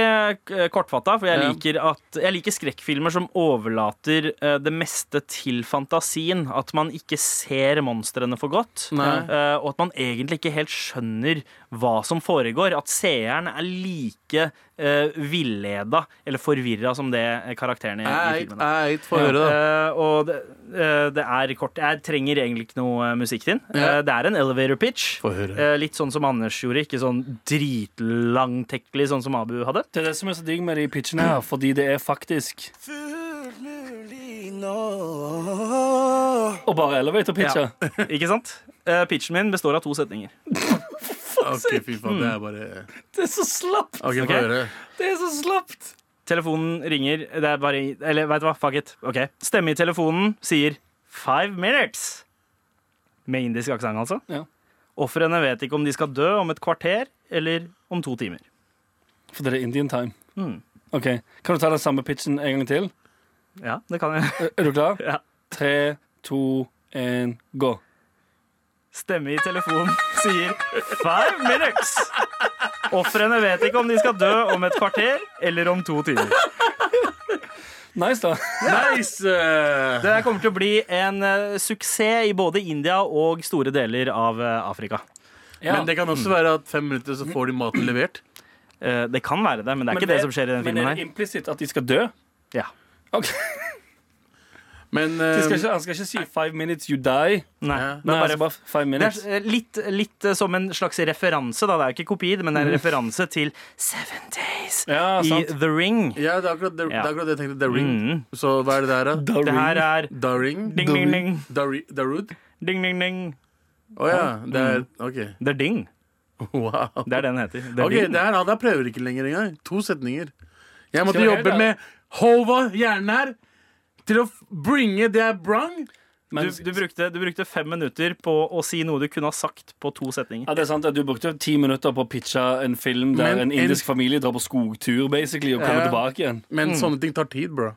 [SPEAKER 2] eh, kortfatta, for jeg
[SPEAKER 4] Ja.
[SPEAKER 2] liker, at, jeg liker skrekkfilmer som overlater eh, det meste til fantasien. At man ikke ser monstrene for godt,
[SPEAKER 4] Nei.
[SPEAKER 2] eh, og at man egentlig ikke helt skjønner hva som foregår. At seeren er like uh, villeda eller forvirra som det karakteren i, i filmen er.
[SPEAKER 4] Eit, få høre, da.
[SPEAKER 2] Eh, og det, eh, det er kort Jeg trenger egentlig ikke noe eh, musikk til den.
[SPEAKER 4] Ja.
[SPEAKER 2] Eh, det er en elevator pitch.
[SPEAKER 4] Få høre.
[SPEAKER 2] Eh, litt sånn som Anders gjorde, ikke sånn dritlangtekkelig sånn som Abu hadde.
[SPEAKER 3] Det er det som er så digg med de pitchene her, fordi det er faktisk Og bare elevator-pitcher.
[SPEAKER 2] Ikke sant? Eh, pitchen min består av to setninger.
[SPEAKER 4] Ok, fy faen, det er bare
[SPEAKER 3] Det er så slapt!
[SPEAKER 4] Ok, få
[SPEAKER 2] Ok.
[SPEAKER 4] høre.
[SPEAKER 3] Det er så slapt!
[SPEAKER 2] Telefonen ringer, det er bare Eller vet du hva, fuck it. Ok. Stemme i telefonen sier five minutes. Med indisk aksent, altså.
[SPEAKER 3] Ja.
[SPEAKER 2] Ofrene vet ikke om de skal dø om et kvarter eller om to timer.
[SPEAKER 3] For det er Indian time.
[SPEAKER 2] Mm.
[SPEAKER 3] Ok, Kan du ta den samme pitchen en gang til?
[SPEAKER 2] Ja, det kan jeg.
[SPEAKER 3] Er er du klar?
[SPEAKER 2] Ja.
[SPEAKER 3] Tre, to, én, gå.
[SPEAKER 2] Stemme i telefonen sier five minutes. Ofrene vet ikke om de skal dø om et kvarter eller om to timer.
[SPEAKER 3] Nice, da.
[SPEAKER 4] Nice! eh,
[SPEAKER 2] Det her kommer til å bli en eh, suksess i både India og store deler av eh, Afrika.
[SPEAKER 3] Ja.
[SPEAKER 4] Men det kan også være at fem minutter så får de maten levert.
[SPEAKER 2] Eh, Det kan være det, men det er
[SPEAKER 3] Men
[SPEAKER 2] ikke det, som skjer i den filmen
[SPEAKER 3] Men er det
[SPEAKER 2] her.
[SPEAKER 3] implisitt at de skal dø?
[SPEAKER 2] Ja.
[SPEAKER 3] Ok.
[SPEAKER 4] Men
[SPEAKER 3] De
[SPEAKER 4] eh,
[SPEAKER 3] skal ikke, han skal ikke si 'five minutes you die'.
[SPEAKER 2] Nei,
[SPEAKER 4] Ja.
[SPEAKER 2] det
[SPEAKER 3] Nei,
[SPEAKER 2] er
[SPEAKER 3] altså
[SPEAKER 2] Um, bare
[SPEAKER 3] bare five
[SPEAKER 2] det
[SPEAKER 3] minutes.
[SPEAKER 2] er eh, litt, litt eh, som en slags referanse, da. Det er jo ikke kopi, men det er en referanse til Seven Days
[SPEAKER 3] Ja,
[SPEAKER 2] i
[SPEAKER 3] sant.
[SPEAKER 2] The Ring.
[SPEAKER 4] ja, det er akkurat det, det, er akkurat det jeg tenkte. The Ring.
[SPEAKER 2] Mm.
[SPEAKER 4] Så hva er det der, da?
[SPEAKER 2] Det her er
[SPEAKER 4] The Ring?
[SPEAKER 2] Ding, ding, ding.
[SPEAKER 4] The Ri- The Rood?
[SPEAKER 2] Ding, ding, ding.
[SPEAKER 4] Å ja. Det er OK.
[SPEAKER 2] The Ding.
[SPEAKER 4] Wow.
[SPEAKER 2] Det er det den heter. The
[SPEAKER 4] Ok,
[SPEAKER 2] Ding.
[SPEAKER 4] det her, han der prøver ikke lenger engang. To setninger. Jeg måtte
[SPEAKER 3] Skal jeg
[SPEAKER 4] jobbe
[SPEAKER 3] gjøre
[SPEAKER 4] med
[SPEAKER 3] det?
[SPEAKER 4] hova hjernen her til å f- bringe det jeg brang.
[SPEAKER 3] Men,
[SPEAKER 2] Du, du, brukte, du brukte fem minutter på å si noe du kunne ha sagt på to setninger.
[SPEAKER 3] ja, det er sant at Du brukte ti minutter på å pitche en film der en
[SPEAKER 4] Men
[SPEAKER 3] indisk familie drar på skogtur basically og kommer
[SPEAKER 4] Ja.
[SPEAKER 3] tilbake igjen.
[SPEAKER 4] Men sånne ting tar tid, bro.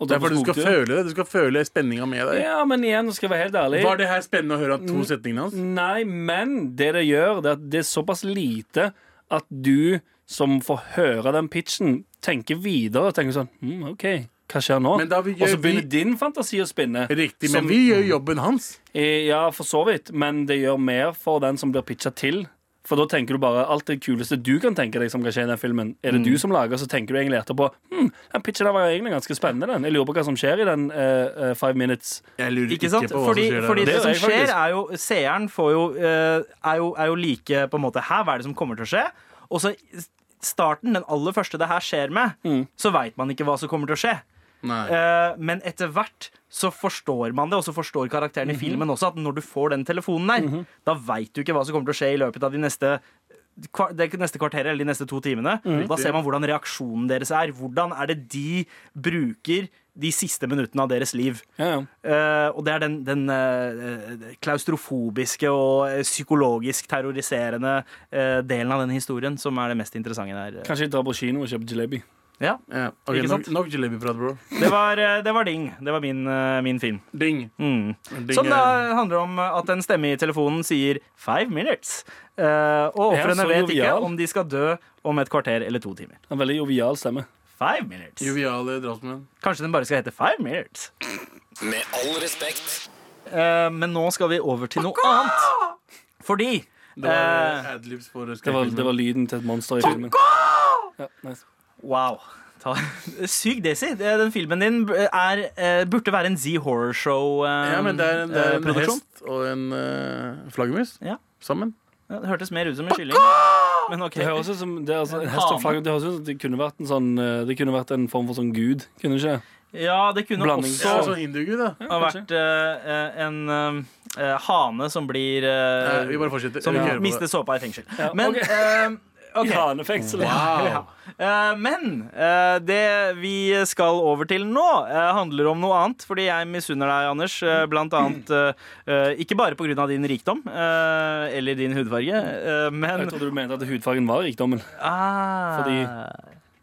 [SPEAKER 3] Og
[SPEAKER 4] Det
[SPEAKER 3] drar
[SPEAKER 4] er
[SPEAKER 3] på
[SPEAKER 4] fordi du skal
[SPEAKER 3] Sånn skogtur.
[SPEAKER 4] føle det. Du skal føle spenninga med deg.
[SPEAKER 3] Ja, men igjen, nå skal jeg være helt ærlig
[SPEAKER 4] Var det her spennende å høre to setningene hans?
[SPEAKER 3] Nei, men det det gjør, det er at det er såpass lite at du som får høre den pitchen, tenker videre og tenker sånn mm, OK, hva skjer nå?
[SPEAKER 4] Men da vi
[SPEAKER 3] Og så
[SPEAKER 4] gjør-
[SPEAKER 3] begynner
[SPEAKER 4] vi-
[SPEAKER 3] din fantasi å spinne.
[SPEAKER 4] Riktig,
[SPEAKER 3] Som-
[SPEAKER 4] men vi gjør jobben hans.
[SPEAKER 3] Eh, Ja, for så vidt, men det gjør mer for den som blir pitcha til. For da tenker du bare alt det kuleste du kan tenke deg som kan skje i den filmen. Er det
[SPEAKER 4] Mm.
[SPEAKER 3] du som lager, så tenker du egentlig etterpå hm, den pitchen der var egentlig ganske spennende. den. Jeg lurer på hva som skjer i den eh, eh, Five Minutes.
[SPEAKER 4] Jeg lurer
[SPEAKER 2] Ikke
[SPEAKER 4] ikke,
[SPEAKER 2] sant?
[SPEAKER 4] på hva
[SPEAKER 2] fordi
[SPEAKER 4] som skjer
[SPEAKER 2] fordi
[SPEAKER 4] der. altså.
[SPEAKER 2] det,
[SPEAKER 3] Det
[SPEAKER 2] som
[SPEAKER 3] gjør jeg
[SPEAKER 2] skjer,
[SPEAKER 3] faktisk.
[SPEAKER 2] er jo Seeren får jo, eh, er jo, er jo like på en måte Her, hva er det som kommer til å skje? Og så i starten, den aller første det her skjer med, så veit man ikke hva som kommer til å skje.
[SPEAKER 4] Mm. Nei.
[SPEAKER 2] Eh, men etter hvert så forstår man det, og så forstår
[SPEAKER 4] Mhm.
[SPEAKER 2] karakteren i filmen også at når du får den telefonen der, da veit du ikke hva som kommer til å skje i løpet av de neste kva- det neste kvarteret eller de neste to timene.
[SPEAKER 4] Mhm.
[SPEAKER 2] Da ser man hvordan reaksjonen deres er. Hvordan er det de bruker de siste minuttene av deres liv?
[SPEAKER 3] Ja, ja.
[SPEAKER 2] Eh, og det er den, den eh, eh, klaustrofobiske og eh, psykologisk terroriserende eh, delen av den historien som er det mest interessante der.
[SPEAKER 3] Kanskje jeg drar på kino og kjøper jalebi.
[SPEAKER 2] Ja,
[SPEAKER 4] Ja, ok,
[SPEAKER 2] Ikke
[SPEAKER 4] nok,
[SPEAKER 2] sant?
[SPEAKER 4] nok jalebi-prat, bro.
[SPEAKER 2] det var, eh, det var Ding. Det var min, eh, min film.
[SPEAKER 4] Ding.
[SPEAKER 2] Mm.
[SPEAKER 4] Ding
[SPEAKER 2] Som
[SPEAKER 4] er-
[SPEAKER 3] eh.
[SPEAKER 2] da handler om at en stemme i telefonen sier 'five minutes'. eh, og
[SPEAKER 3] Ja,
[SPEAKER 2] ofrene
[SPEAKER 3] så
[SPEAKER 2] vet ikke
[SPEAKER 3] jovial.
[SPEAKER 2] om de skal dø om et kvarter eller to timer.
[SPEAKER 3] En veldig jovial stemme.
[SPEAKER 2] Five minutes.
[SPEAKER 4] Joviale drapsmenn.
[SPEAKER 2] Kanskje den bare skal hete 'five minutes'.
[SPEAKER 5] Med all respekt.
[SPEAKER 2] Eh, men nå skal vi over til noe annet. Fordi
[SPEAKER 4] Det var
[SPEAKER 2] eh,
[SPEAKER 4] adlibs for
[SPEAKER 3] Det var, det var lyden til et monster i filmen. Ja, nice.
[SPEAKER 2] Wow. Ta, syk Daisy. Det- Den filmen din b- er, eh, burde være en Z Horror Show. eh,
[SPEAKER 4] Ja, men det er, det er
[SPEAKER 2] eh,
[SPEAKER 4] en
[SPEAKER 2] produksjon.
[SPEAKER 4] hest og en uh, flaggermus
[SPEAKER 2] Ja.
[SPEAKER 4] sammen.
[SPEAKER 2] Ja, det hørtes mer ut som en kylling. Men ok.
[SPEAKER 3] Det høres ut som det, er altså, en hest og flagg, det høres ut som det kunne vært en sånn eh, Det kunne vært en form for sånn gud. Kunne det ikke?
[SPEAKER 2] Ja, det kunne
[SPEAKER 3] Blanding.
[SPEAKER 4] Ja,
[SPEAKER 2] også
[SPEAKER 4] sånn hindugud, da.
[SPEAKER 2] ha vært eh, en eh, eh, hane som blir eh,
[SPEAKER 4] Eh, vi bare fortsetter.
[SPEAKER 2] Som
[SPEAKER 4] Vi hører på
[SPEAKER 2] mister
[SPEAKER 4] det.
[SPEAKER 2] såpa i fengsel.
[SPEAKER 3] Ja,
[SPEAKER 2] Men
[SPEAKER 3] ok.
[SPEAKER 2] eh, ok.
[SPEAKER 3] I hanefengsel.
[SPEAKER 4] Wow.
[SPEAKER 2] Eh, men eh, det vi skal over til nå, eh, handler om noe annet. Fordi jeg misunner deg, Anders, eh, blant annet eh, eh, Ikke bare pga. din rikdom eh, eller din hudfarge, eh, men
[SPEAKER 3] Jeg trodde du mente at hudfargen var rikdommen.
[SPEAKER 2] ah,
[SPEAKER 3] Fordi-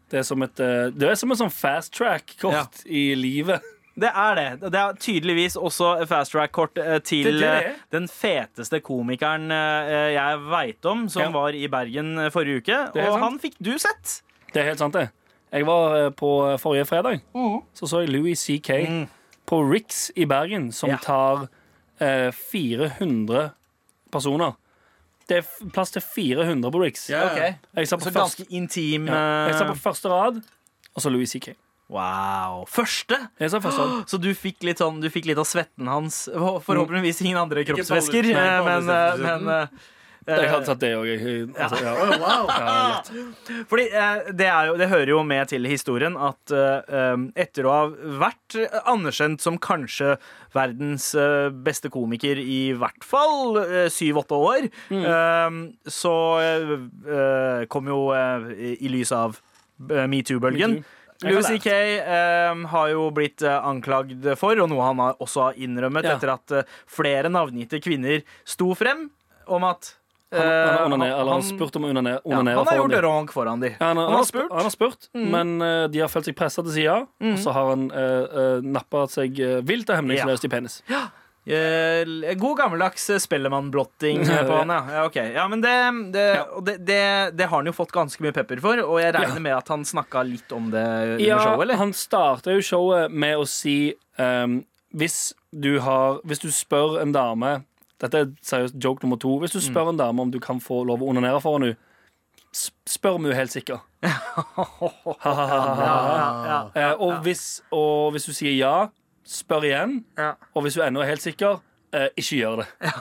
[SPEAKER 3] Det er som et, eh, det er som et sånn fast track-kort i livet.
[SPEAKER 2] Det er det. Det er tydeligvis også fast track-kort eh, til
[SPEAKER 3] Det er det det
[SPEAKER 2] eh,
[SPEAKER 3] er.
[SPEAKER 2] den feteste komikeren eh, jeg veit om, som
[SPEAKER 3] Ja.
[SPEAKER 2] var i Bergen eh, forrige uke.
[SPEAKER 3] Det er
[SPEAKER 2] Og
[SPEAKER 3] sant.
[SPEAKER 2] han fikk du sett.
[SPEAKER 3] Det er helt sant, det. Jeg var eh, på eh, forrige fredag.
[SPEAKER 2] Mm.
[SPEAKER 3] Så så jeg Louis CK på Rix i Bergen, som
[SPEAKER 2] Ja.
[SPEAKER 3] tar eh, 400 personer. Det er f- plass til 400 på Rix.
[SPEAKER 4] Ja, ja.
[SPEAKER 3] Jeg satt
[SPEAKER 2] Så
[SPEAKER 3] på, første,
[SPEAKER 2] ganske intim
[SPEAKER 3] ja. jeg satt
[SPEAKER 2] eh,
[SPEAKER 3] på første rad, og så Louis CK.
[SPEAKER 2] Wow. Første?
[SPEAKER 3] Jeg satt på første rad.
[SPEAKER 2] Så du fikk litt, sånn, du fikk litt av svetten hans. Forhåpentligvis ingen andre
[SPEAKER 4] på alle-
[SPEAKER 2] kroppsvæsker,
[SPEAKER 4] nei, på
[SPEAKER 2] eh,
[SPEAKER 4] alle
[SPEAKER 2] men, eh,
[SPEAKER 4] steder på
[SPEAKER 2] men eh,
[SPEAKER 3] Jeg hadde tatt det òg. Altså, ja.
[SPEAKER 4] Å, wow.
[SPEAKER 2] Fordi eh, det, er jo, det hører jo med til historien at eh, um, etter å ha vært anerkjent som kanskje verdens eh, beste komiker i hvert fall syv-åtte år,
[SPEAKER 3] Mm.
[SPEAKER 2] eh, så eh, eh, kom jo eh, i, i lys av eh, metoo-bølgen.
[SPEAKER 3] Me Too. Jeg har
[SPEAKER 2] Lucy
[SPEAKER 3] lært.
[SPEAKER 2] Kay eh, har jo blitt eh, anklagd for, og noe han har også har innrømmet
[SPEAKER 3] Ja.
[SPEAKER 2] etter at eh, flere navngitte kvinner sto frem om at eh,
[SPEAKER 3] Han, han, har onaner- eller han
[SPEAKER 2] han-
[SPEAKER 3] har spurt om å onanere.
[SPEAKER 2] ja, han
[SPEAKER 3] onanere
[SPEAKER 2] har
[SPEAKER 3] foran
[SPEAKER 2] gjort det
[SPEAKER 3] dem.
[SPEAKER 2] rank foran de.
[SPEAKER 3] Ja, han, har, han, har spurt, Mm.
[SPEAKER 2] spurt.
[SPEAKER 3] han har spurt men eh, de har følt seg pressa til å si ja. Og så har han uh, nappa seg eh, vilt og hemningsløst i penis.
[SPEAKER 2] Eh, god gammeldags spellemannblotting eh, på han, ja. ja, ok. ja men det, det, og det, det, det har han jo fått ganske mye pepper for, og jeg regner med at han snakka litt om det under
[SPEAKER 3] Ja,
[SPEAKER 2] showet, eller?
[SPEAKER 3] han starta jo showet med å si ehm, hvis, du har, hvis du spør en dame Dette er seriøst joke nummer to. Hvis du
[SPEAKER 2] Mm.
[SPEAKER 3] spør en dame om du kan få lov å onanere foran henne, s- spør om hun er helt sikker.
[SPEAKER 2] Ja, ja, ja,
[SPEAKER 3] Eh, og, hvis, og hvis du sier ja, spør igjen.
[SPEAKER 2] ja.
[SPEAKER 3] Og hvis hun ennå er helt sikker, eh, ikke gjør det.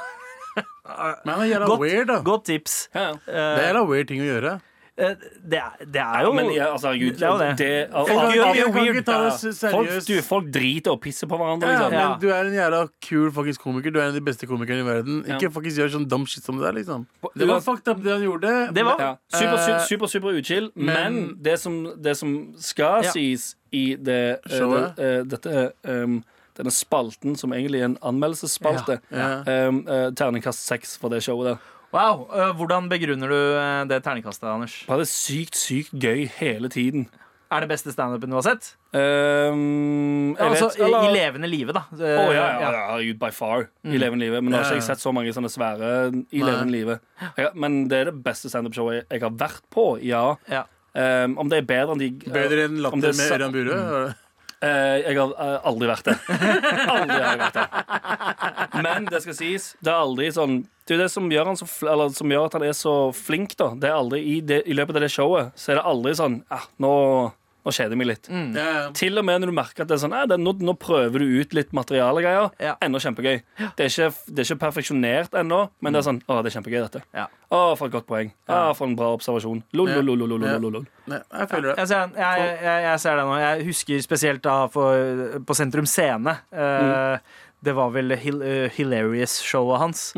[SPEAKER 4] Men han er jævla
[SPEAKER 2] Godt-
[SPEAKER 4] weird, da.
[SPEAKER 2] Godt tips.
[SPEAKER 4] Det er jævla weird ting å gjøre.
[SPEAKER 2] Eh, det, er, det er jo
[SPEAKER 3] Men ja, altså, herregud,
[SPEAKER 2] Det er jo det.
[SPEAKER 3] det-
[SPEAKER 2] Folk gjør mye
[SPEAKER 4] Jeg kan
[SPEAKER 2] weird.
[SPEAKER 4] ikke ta det s-
[SPEAKER 3] Folk,
[SPEAKER 4] seriøst.
[SPEAKER 3] du, folk driter og pisser på hverandre.
[SPEAKER 4] Ja,
[SPEAKER 3] Liksom.
[SPEAKER 2] Ja.
[SPEAKER 4] men du er en jævla kul faktisk komiker. Du er en av de beste komikerne i verden.
[SPEAKER 3] Ja.
[SPEAKER 4] Ikke faktisk gjør sånn dum shit som det der, liksom. Det var fucked up, det han gjorde.
[SPEAKER 2] Det var-
[SPEAKER 3] Ja. Super,
[SPEAKER 4] Eh,
[SPEAKER 3] super, super, super uchill, men,
[SPEAKER 4] men-
[SPEAKER 3] det, som, det som skal
[SPEAKER 2] Ja.
[SPEAKER 3] sies i det, eh,
[SPEAKER 4] Showet?
[SPEAKER 3] det, eh, dette, em, denne spalten, som egentlig er en anmeldelsesspalte
[SPEAKER 4] Ja.
[SPEAKER 3] em, eh, Terningkast seks for det showet der.
[SPEAKER 2] Wow. eh, hvordan begrunner du eh, det terningkastet, Anders?
[SPEAKER 3] Vi hadde sykt, sykt gøy hele tiden.
[SPEAKER 2] Er det beste standupen du har sett?
[SPEAKER 3] Em, Ehm, jeg
[SPEAKER 2] Altså,
[SPEAKER 3] vet,
[SPEAKER 2] i, I
[SPEAKER 3] eller-
[SPEAKER 2] levende live, da. Eh,
[SPEAKER 3] Å ja, ja, ja, herregud, by far. I levende livet. Men nå har ikke jeg sett så mange sånne svære i levende livet. Jeg, men det er det beste standup-showet jeg, jeg har vært på, ja.
[SPEAKER 2] ja.
[SPEAKER 3] Em, om det er bedre enn de
[SPEAKER 4] Bedre enn
[SPEAKER 3] om det er
[SPEAKER 4] latter med
[SPEAKER 3] sa-
[SPEAKER 4] Ørjan Burøe.
[SPEAKER 3] Eh, jeg har eh, aldri vært det. aldri har jeg vært det. Men det skal sies, det er aldri sånn du, Det som gjør, han så, fl- eller, som gjør at han er så flink, da, det er aldri i, det, i løpet av det showet, så er det aldri sånn ah, nå, nå kjeder jeg meg litt.
[SPEAKER 2] Mm.
[SPEAKER 4] Ja, ja.
[SPEAKER 3] Til og med når du merker at det er sånn, eh, det, nå, nå prøver du ut litt materialegreier.
[SPEAKER 2] Ja.
[SPEAKER 3] Ennå kjempegøy. Det er ikke, det er ikke perfeksjonert ennå, men det er sånn Å, det er kjempegøy, dette.
[SPEAKER 2] Ja.
[SPEAKER 3] Å, for et godt poeng. Å, for en bra observasjon. Lol,
[SPEAKER 4] Ja.
[SPEAKER 3] lol, lol, lol,
[SPEAKER 4] Ja.
[SPEAKER 3] lol, lol.
[SPEAKER 4] Nei, jeg føler det.
[SPEAKER 2] Jeg ser, den. jeg, jeg, jeg ser det nå. Jeg husker spesielt da for, på Sentrum Scene. Eh, Det var vel Hil eh, Hilarious-showet hans.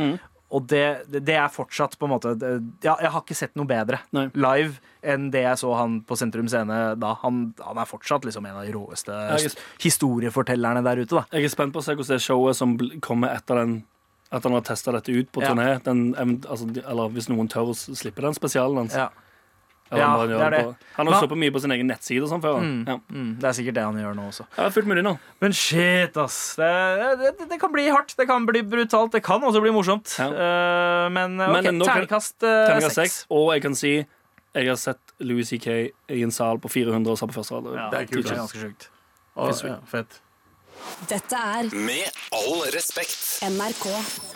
[SPEAKER 2] og det, det er fortsatt på en måte det- ja, Jeg har ikke sett noe bedre
[SPEAKER 3] Nei.
[SPEAKER 2] live enn det jeg så han på Sentrum Scene da. Han, han er fortsatt liksom en av de råeste
[SPEAKER 3] jeg-
[SPEAKER 2] historiefortellerne der ute, da.
[SPEAKER 3] Jeg er spent på å se hvordan det showet som bl- kommer etter den at han har testa dette ut på
[SPEAKER 2] Ja.
[SPEAKER 3] turné. Den, event- altså, de- eller hvis noen tør å s- slippe den spesialen hans.
[SPEAKER 2] Ja.
[SPEAKER 3] Eller
[SPEAKER 2] Ja,
[SPEAKER 3] han, bare gjør
[SPEAKER 2] det er
[SPEAKER 3] det
[SPEAKER 2] det.
[SPEAKER 3] På. han har
[SPEAKER 2] Hva-
[SPEAKER 3] stått på mye på sin egen nettside og sånn før. han. Ja.
[SPEAKER 2] Mm, det er sikkert det han gjør nå også.
[SPEAKER 3] Ja, fullt mulig nå.
[SPEAKER 2] Men shit, ass. Det, det, det, det kan bli hardt, det kan bli brutalt, det kan også bli morsomt.
[SPEAKER 3] Ja.
[SPEAKER 2] Eh, men ok,
[SPEAKER 3] Men nå kan-
[SPEAKER 2] terningkast eh,
[SPEAKER 3] Terninger
[SPEAKER 2] seks.
[SPEAKER 3] seks. Og jeg kan si jeg har sett Louis C.K. i en sal på 400 og sa på første rad.
[SPEAKER 2] Ja,
[SPEAKER 4] Det er kult,
[SPEAKER 2] Det er
[SPEAKER 4] ass.
[SPEAKER 2] ganske sjukt.
[SPEAKER 4] Å, ja, fett.
[SPEAKER 6] Dette er
[SPEAKER 5] Med all respekt.
[SPEAKER 6] NRK.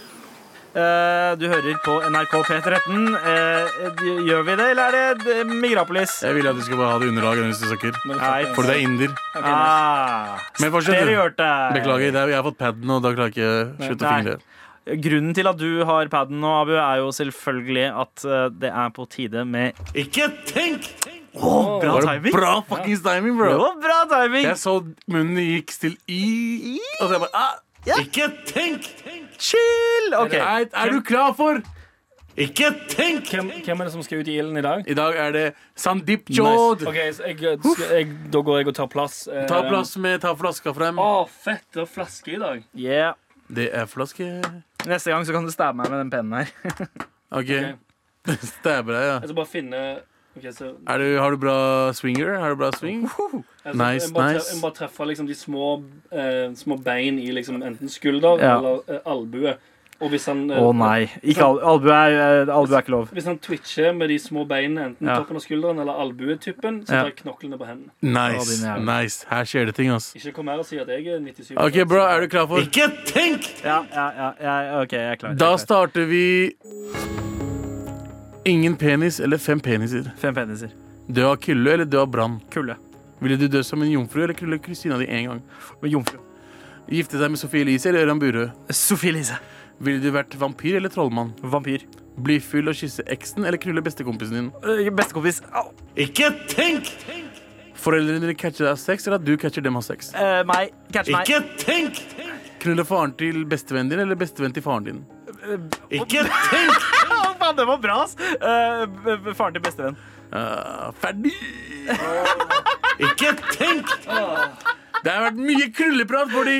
[SPEAKER 2] Eh, du hører på NRK P13. Eh, gjør vi det, eller er det eh, Migrapolis?
[SPEAKER 4] Jeg ville at du skulle bare ha det i underlaget når du snakker.
[SPEAKER 2] Nei,
[SPEAKER 4] For det er inder.
[SPEAKER 2] ah,
[SPEAKER 4] Men fortsett,
[SPEAKER 2] dere
[SPEAKER 4] du.
[SPEAKER 2] hørte.
[SPEAKER 4] Beklager, det er, jeg har fått paden, og da klarer jeg ikke å slutte å
[SPEAKER 2] Nei.
[SPEAKER 4] fingle.
[SPEAKER 2] Grunnen til at du har paden nå, Abu, er jo selvfølgelig at eh, det er på tide med
[SPEAKER 4] Ikke tenk!
[SPEAKER 2] Bra
[SPEAKER 4] Var det
[SPEAKER 2] timing!
[SPEAKER 4] bra fuckings
[SPEAKER 2] Det
[SPEAKER 4] timing, bro?
[SPEAKER 2] var bra timing!
[SPEAKER 4] Jeg så munnen gikk til i Og så jeg bare ah, Ikke tenk!
[SPEAKER 2] Chill! Ok.
[SPEAKER 4] Er, er du klar for Ikke tenk!
[SPEAKER 3] Hvem, hvem er det som skal ut i ilden i dag?
[SPEAKER 4] I dag er det Sandeep Jod.
[SPEAKER 3] Ok, så jeg, eh, skal, jeg, Da går jeg og tar plass. eh,
[SPEAKER 4] Ta plass med ta flaska frem.
[SPEAKER 3] Å, fett! Det er flaske i dag.
[SPEAKER 2] Yeah.
[SPEAKER 4] Det er flaske.
[SPEAKER 2] Neste gang så kan du stabbe meg med den pennen her.
[SPEAKER 4] OK. Stabber deg, ja.
[SPEAKER 3] Jeg skal bare finne ok, så
[SPEAKER 4] Er du, har du bra swinger? Har du bra swing?
[SPEAKER 3] Jeg,
[SPEAKER 4] Nice,
[SPEAKER 3] jeg, Altså, bare, tre-
[SPEAKER 4] nice.
[SPEAKER 3] jeg bare treffer liksom de små, eh, små bein i liksom enten skulder
[SPEAKER 2] Ja.
[SPEAKER 3] eller eh, albue. Og hvis han, eh,
[SPEAKER 2] Å nei. Ikke al albu, er, eh, albu er ikke lov.
[SPEAKER 3] hvis han twitcher med de små beina, enten
[SPEAKER 2] Ja.
[SPEAKER 3] toppen av skulderen eller albuetuppen, så
[SPEAKER 2] Ja.
[SPEAKER 3] tar jeg knoklene på hendene.
[SPEAKER 2] din
[SPEAKER 4] Nice.
[SPEAKER 2] jævel.
[SPEAKER 4] nice Her skjer det ting, ass.
[SPEAKER 3] Ikke kom her og si at jeg er 97
[SPEAKER 4] OK, bro, er du klar for Ikke tenk!
[SPEAKER 2] Ja, ja, ja, ja OK, jeg er klar.
[SPEAKER 4] Da
[SPEAKER 2] Jeg er klar.
[SPEAKER 4] starter vi Ingen penis eller fem peniser.
[SPEAKER 2] Fem peniser.
[SPEAKER 4] Dø av kulde eller dø av brann.
[SPEAKER 2] Kulde.
[SPEAKER 4] Ville du dø som en jomfru eller knulle kusina di én gang?
[SPEAKER 2] Med Jomfru.
[SPEAKER 4] Gifte deg med Sofie Elise eller Ørjan Burøe?
[SPEAKER 2] Sophie Elise.
[SPEAKER 4] Ville du vært vampyr eller trollmann?
[SPEAKER 2] Vampyr.
[SPEAKER 4] Bli full og kysse eksen eller knulle bestekompisen din?
[SPEAKER 2] Eh, Bestekompis. Au.
[SPEAKER 4] Ikke tenk! Foreldrene dine catcher deg av sex, eller at du catcher dem av sex?
[SPEAKER 2] Eh, meg. Catch meg.
[SPEAKER 4] tenk! Knulle faren til bestevennen din eller bestevennen til faren din? Ikke tenk!
[SPEAKER 2] Å, faen, det var bra, ass. Eh, b- b- faren til bestevenn.
[SPEAKER 4] Ah, ferdig! Ikke tenk! Det har vært mye krulleprat fordi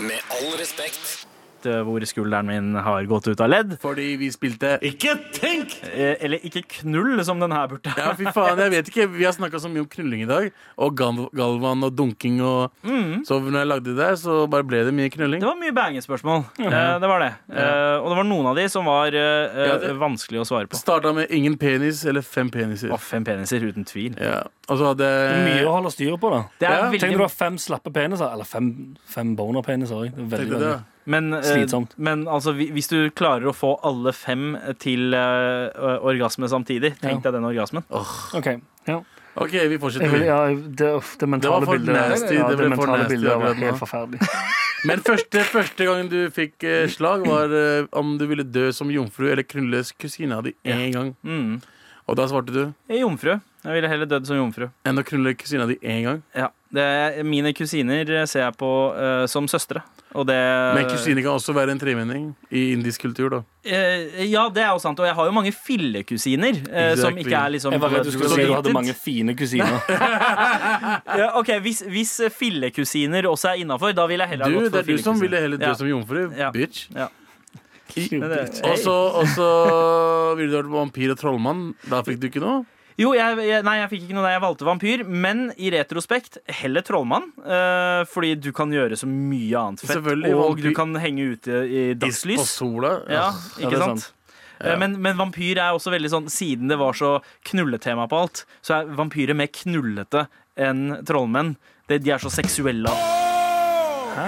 [SPEAKER 5] Med all respekt.
[SPEAKER 2] Eh, Hvor skulderen min har gått ut av ledd.
[SPEAKER 4] Fordi vi spilte Ikke tenk!
[SPEAKER 2] Eh, eller ikke knull, som den her burde.
[SPEAKER 4] Ja, fy faen, jeg vet ikke Vi har snakket så mye om knulling i dag Og Gal- Galvan og dunking og Så når jeg lagde det der, så bare ble det mye knulling
[SPEAKER 2] Mm. Det var mye bangespørsmål. Eh, det var det. Eh, og det var noen av de som var eh, eh,
[SPEAKER 4] Mhm. Ja, det-
[SPEAKER 2] vanskelig å svare på.
[SPEAKER 4] Startet med ingen penis eller fem peniser
[SPEAKER 2] Å, fem peniser, uten tvil.
[SPEAKER 4] ja. Og så hadde
[SPEAKER 3] Mye
[SPEAKER 4] jeg
[SPEAKER 3] å holde styr på, da.
[SPEAKER 2] Det er
[SPEAKER 4] Ja,
[SPEAKER 2] veldig
[SPEAKER 3] Tenk når du har fem slappe peniser. Eller fem, fem boner-peniser òg.
[SPEAKER 4] Tenkte det
[SPEAKER 2] Men, eh,
[SPEAKER 3] Slitsomt.
[SPEAKER 2] men altså, hvi- hvis du klarer å få alle fem til eh, orgasme samtidig, tenk deg den orgasmen.
[SPEAKER 3] OK. Ja.
[SPEAKER 4] Ok, vi fortsetter
[SPEAKER 7] Jeg vil,
[SPEAKER 4] vi.
[SPEAKER 7] ja, det, uff, det
[SPEAKER 4] Det
[SPEAKER 7] mentale
[SPEAKER 4] var for
[SPEAKER 7] bildet
[SPEAKER 4] nasty,
[SPEAKER 7] ja,
[SPEAKER 4] det
[SPEAKER 7] det,
[SPEAKER 4] ble for
[SPEAKER 7] mentale
[SPEAKER 4] nasty
[SPEAKER 7] bildet
[SPEAKER 4] akkurat
[SPEAKER 7] var
[SPEAKER 4] nå.
[SPEAKER 7] helt forferdelig.
[SPEAKER 4] Men første, første gang du fikk eh, slag Var eh, om du ville dø som jomfru Eller knulle kusina di en gang
[SPEAKER 2] Mm.
[SPEAKER 4] Og da svarte du
[SPEAKER 2] Jeg er Jomfru. Jeg ville heller dødd som jomfru.
[SPEAKER 4] Enn å knulle kusina di en gang
[SPEAKER 2] Ja. Det er, mine kusiner ser jeg på eh, som søstre, og det
[SPEAKER 4] Men kusine kan også være en tremenning I indisk kultur da
[SPEAKER 2] Eh, ja, det er jo sant. Og jeg har jo mange fillekusiner eh, som
[SPEAKER 4] Exactly.
[SPEAKER 2] ikke er liksom
[SPEAKER 3] Jeg var redd du skulle si du hadde
[SPEAKER 2] related.
[SPEAKER 3] mange fine kusiner.
[SPEAKER 2] Ja, ok, Hvis, hvis fillekusiner også er innafor, da vil jeg heller
[SPEAKER 4] Du,
[SPEAKER 2] ha gått
[SPEAKER 4] det
[SPEAKER 2] for
[SPEAKER 4] er du som ville heller dø
[SPEAKER 2] Ja.
[SPEAKER 4] som jomfru
[SPEAKER 2] Ja.
[SPEAKER 4] Bitch
[SPEAKER 2] Ja.
[SPEAKER 4] I-
[SPEAKER 2] Men det-
[SPEAKER 4] Og så og så ville du vært vampyr og trollmann. Da fikk du ikke noe.
[SPEAKER 2] Jo, jeg, jeg, nei, jeg fikk ikke noe der. Jeg valgte vampyr. Men i retrospekt heller trollmann. eh, fordi du kan gjøre så mye annet fett.
[SPEAKER 4] Selvfølgelig,
[SPEAKER 2] Og
[SPEAKER 4] vampyr-
[SPEAKER 2] du kan henge ute i
[SPEAKER 4] På
[SPEAKER 2] dagslys.
[SPEAKER 4] sola.
[SPEAKER 2] Ja,
[SPEAKER 3] det
[SPEAKER 2] ikke
[SPEAKER 3] er
[SPEAKER 2] sant? Eh, Men, men vampyr er også veldig sånn Siden det var så knulletema på alt, så er vampyrer mer knullete enn trollmenn. De, de er så seksuelle. Hæ?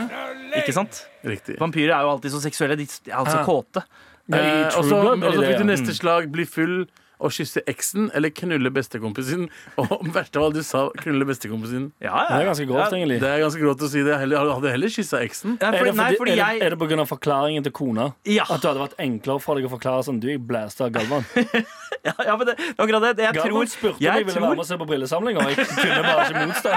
[SPEAKER 2] Ikke sant?
[SPEAKER 4] Riktig.
[SPEAKER 2] Vampyrer er jo alltid så seksuelle. De er altså
[SPEAKER 4] Ja.
[SPEAKER 2] kåte.
[SPEAKER 4] Eh,
[SPEAKER 3] I
[SPEAKER 4] og
[SPEAKER 3] True
[SPEAKER 4] så
[SPEAKER 3] Blood
[SPEAKER 4] og
[SPEAKER 3] blir
[SPEAKER 4] så
[SPEAKER 3] det
[SPEAKER 4] fikk
[SPEAKER 3] det,
[SPEAKER 4] du neste slag. Bli full og kysse eksen eller knulle bestekompisen. Og verst av alt, du sa knulle bestekompisen.
[SPEAKER 2] Ja, ja.
[SPEAKER 3] Det er ganske grovt, egentlig.
[SPEAKER 4] Det er ganske grovt å si det. Heller, hadde heller kyssa eksen.
[SPEAKER 2] Ja,
[SPEAKER 3] Er
[SPEAKER 2] fordi,
[SPEAKER 3] det,
[SPEAKER 2] nei,
[SPEAKER 3] fordi,
[SPEAKER 2] fordi
[SPEAKER 3] er det,
[SPEAKER 2] jeg
[SPEAKER 3] er det på grunn av forklaringen til kona?
[SPEAKER 2] Ja.
[SPEAKER 3] At det hadde vært enklere for deg å forklare sånn Du, jeg blæsta Galvan.
[SPEAKER 2] Ja, men det, det er akkurat det. Jeg
[SPEAKER 3] Galvan
[SPEAKER 2] tror,
[SPEAKER 3] spurte om jeg
[SPEAKER 2] jeg
[SPEAKER 3] ville
[SPEAKER 2] tror
[SPEAKER 3] være med og se på brillesamling, og jeg kunne bare ikke motstå.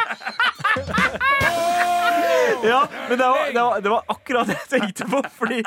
[SPEAKER 2] Ja, men det var, det, var, det var akkurat det jeg tenkte på. Fordi,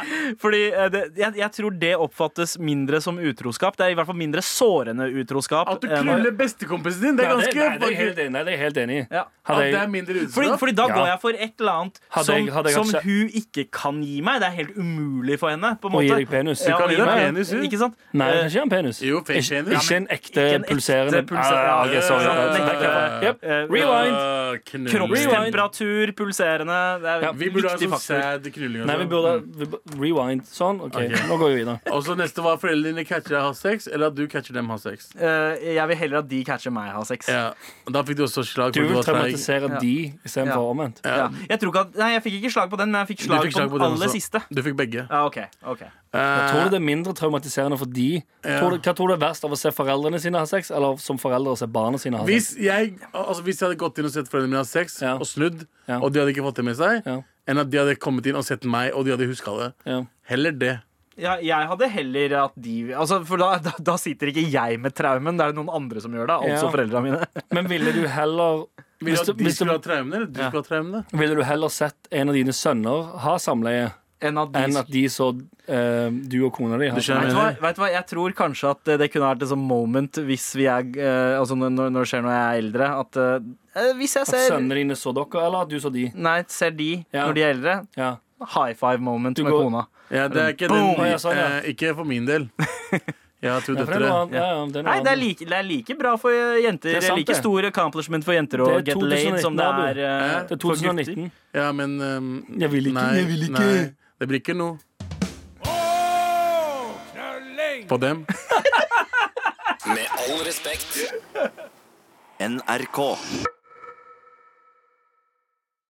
[SPEAKER 2] fordi eh, det, jeg, jeg tror det oppfattes mindre som utroskap. Det er i hvert fall mindre sårende utroskap.
[SPEAKER 4] At du
[SPEAKER 2] enn-
[SPEAKER 4] knuller bestekompisen din, det er
[SPEAKER 3] Nei, det,
[SPEAKER 4] ganske
[SPEAKER 3] nei, det er jeg helt enig, nei, det er jeg helt enig i.
[SPEAKER 2] Ja.
[SPEAKER 3] Hadde
[SPEAKER 4] At det er
[SPEAKER 3] jeg,
[SPEAKER 4] mindre
[SPEAKER 2] Fordi,
[SPEAKER 4] utstrakt.
[SPEAKER 2] fordi da
[SPEAKER 3] Ja.
[SPEAKER 2] går jeg for et eller annet
[SPEAKER 3] Hadde
[SPEAKER 2] som,
[SPEAKER 3] jeg- hadde jeg
[SPEAKER 2] som
[SPEAKER 3] hatt-
[SPEAKER 2] hun ikke kan gi meg. Det er helt umulig for henne. På en
[SPEAKER 3] Å gi
[SPEAKER 2] måte.
[SPEAKER 3] deg penis. Du
[SPEAKER 2] Ja,
[SPEAKER 4] kan
[SPEAKER 2] å
[SPEAKER 4] gi deg
[SPEAKER 2] meg-
[SPEAKER 4] penis, jo.
[SPEAKER 2] Ikke sant?
[SPEAKER 3] nei, det
[SPEAKER 2] Eh,
[SPEAKER 3] er ikke en penis.
[SPEAKER 4] Jo, fake
[SPEAKER 3] ikke,
[SPEAKER 4] penis.
[SPEAKER 3] ikke en ekte
[SPEAKER 2] ikke en ekte
[SPEAKER 3] pulserende
[SPEAKER 2] pulser-
[SPEAKER 3] Ah, ok, sorry.
[SPEAKER 2] Ja,
[SPEAKER 3] Nei,
[SPEAKER 2] ja, ja.
[SPEAKER 3] Yep.
[SPEAKER 2] Eh,
[SPEAKER 3] Rewind.
[SPEAKER 4] Ah,
[SPEAKER 2] Kroppstemperatur, pulserende. Det er
[SPEAKER 3] Ja,
[SPEAKER 4] Vi burde ha
[SPEAKER 2] viktig eh,
[SPEAKER 4] sånn
[SPEAKER 2] faktor.
[SPEAKER 4] sad knulling.
[SPEAKER 3] Nei, vi burde vi bu- Rewind. Sånn. OK,
[SPEAKER 4] Ok.
[SPEAKER 3] nå går vi videre.
[SPEAKER 4] Og så neste var foreldrene dine catcher deg har sex, eller at du catcher dem har sex.
[SPEAKER 2] Eh, jeg vil heller at de catcher meg ha sex.
[SPEAKER 4] Ja. Og da fikk du også slag.
[SPEAKER 3] Du
[SPEAKER 4] fordi
[SPEAKER 3] vil
[SPEAKER 4] var treig.
[SPEAKER 3] traumatisere
[SPEAKER 2] Ja.
[SPEAKER 3] de istedenfor
[SPEAKER 2] Ja.
[SPEAKER 3] omvendt.
[SPEAKER 2] Ja. Jeg, tror ikke at, nei, jeg fikk ikke slag på den, men jeg fikk
[SPEAKER 4] Du
[SPEAKER 2] slag,
[SPEAKER 4] fikk slag
[SPEAKER 2] på
[SPEAKER 4] på den
[SPEAKER 2] den aller
[SPEAKER 4] også.
[SPEAKER 2] siste.
[SPEAKER 4] Du fikk begge. Eh,
[SPEAKER 2] Ja, ok, ok
[SPEAKER 3] Tror du det er mindre traumatiserende for de? Tror du, hva tror du er verst av å se foreldrene sine ha sex, eller som foreldre å se barna sine ha sex?
[SPEAKER 4] Hvis jeg, altså hvis jeg hadde gått inn og sett foreldrene mine ha sex,
[SPEAKER 3] Ja.
[SPEAKER 4] og snudd,
[SPEAKER 3] Ja.
[SPEAKER 4] og de hadde ikke fått det med seg,
[SPEAKER 3] Ja.
[SPEAKER 4] enn at de hadde kommet inn og sett meg, og de hadde huska det.
[SPEAKER 3] Ja.
[SPEAKER 4] Heller det.
[SPEAKER 2] ja, Jeg hadde heller at de altså, For da, da, da sitter ikke jeg med traumen, det er noen andre som gjør det. Altså
[SPEAKER 3] Ja.
[SPEAKER 2] foreldrene mine.
[SPEAKER 3] Men ville du heller
[SPEAKER 4] Vil
[SPEAKER 3] hvis du,
[SPEAKER 4] du at de
[SPEAKER 3] hvis du,
[SPEAKER 4] skulle ha traumene, eller du skulle ha traumene?
[SPEAKER 3] Ville du heller sett en av dine sønner ha samleie
[SPEAKER 2] Enn at de
[SPEAKER 3] enn at de så eh, du og kona di ha
[SPEAKER 4] Du skjønner
[SPEAKER 2] Vet
[SPEAKER 4] hva
[SPEAKER 2] du,
[SPEAKER 4] jeg
[SPEAKER 2] hva,
[SPEAKER 4] mener?
[SPEAKER 2] vet du hva, jeg tror kanskje at eh, det kunne vært et sånt moment hvis vi er eh, Altså når, når når det skjer når jeg er eldre, at eh, hvis jeg
[SPEAKER 3] At
[SPEAKER 2] ser
[SPEAKER 3] sønnene dine så dere, eller at du så de?
[SPEAKER 2] Nei, ser de
[SPEAKER 3] Ja.
[SPEAKER 2] når de er eldre.
[SPEAKER 3] Ja.
[SPEAKER 2] High five moment
[SPEAKER 3] Du
[SPEAKER 2] med
[SPEAKER 3] går-
[SPEAKER 2] kona.
[SPEAKER 4] Ja, det er ikke,
[SPEAKER 2] Boom!
[SPEAKER 4] den,
[SPEAKER 3] Ja, sånn, ja.
[SPEAKER 4] eh, ikke for min del. Jeg har to
[SPEAKER 3] Ja, for det er
[SPEAKER 4] døtre.
[SPEAKER 3] noe annet. Ja, ja, det er noe
[SPEAKER 2] Nei, det er,
[SPEAKER 3] annet.
[SPEAKER 2] like, det er like bra for jenter.
[SPEAKER 3] Det er sant,
[SPEAKER 2] like
[SPEAKER 3] det.
[SPEAKER 2] stor accomplishment for jenter å
[SPEAKER 3] Det er
[SPEAKER 2] get laid som
[SPEAKER 3] 2019,
[SPEAKER 2] det
[SPEAKER 3] Abu.
[SPEAKER 2] er eh,
[SPEAKER 3] Det er
[SPEAKER 2] for gutter.
[SPEAKER 3] 2019.
[SPEAKER 4] Ja, men ehm,
[SPEAKER 3] Jeg vil ikke,
[SPEAKER 4] Nei,
[SPEAKER 3] jeg vil ikke.
[SPEAKER 4] Nei, det blir ikke noe. På dem.
[SPEAKER 5] Med all respekt.
[SPEAKER 7] NRK.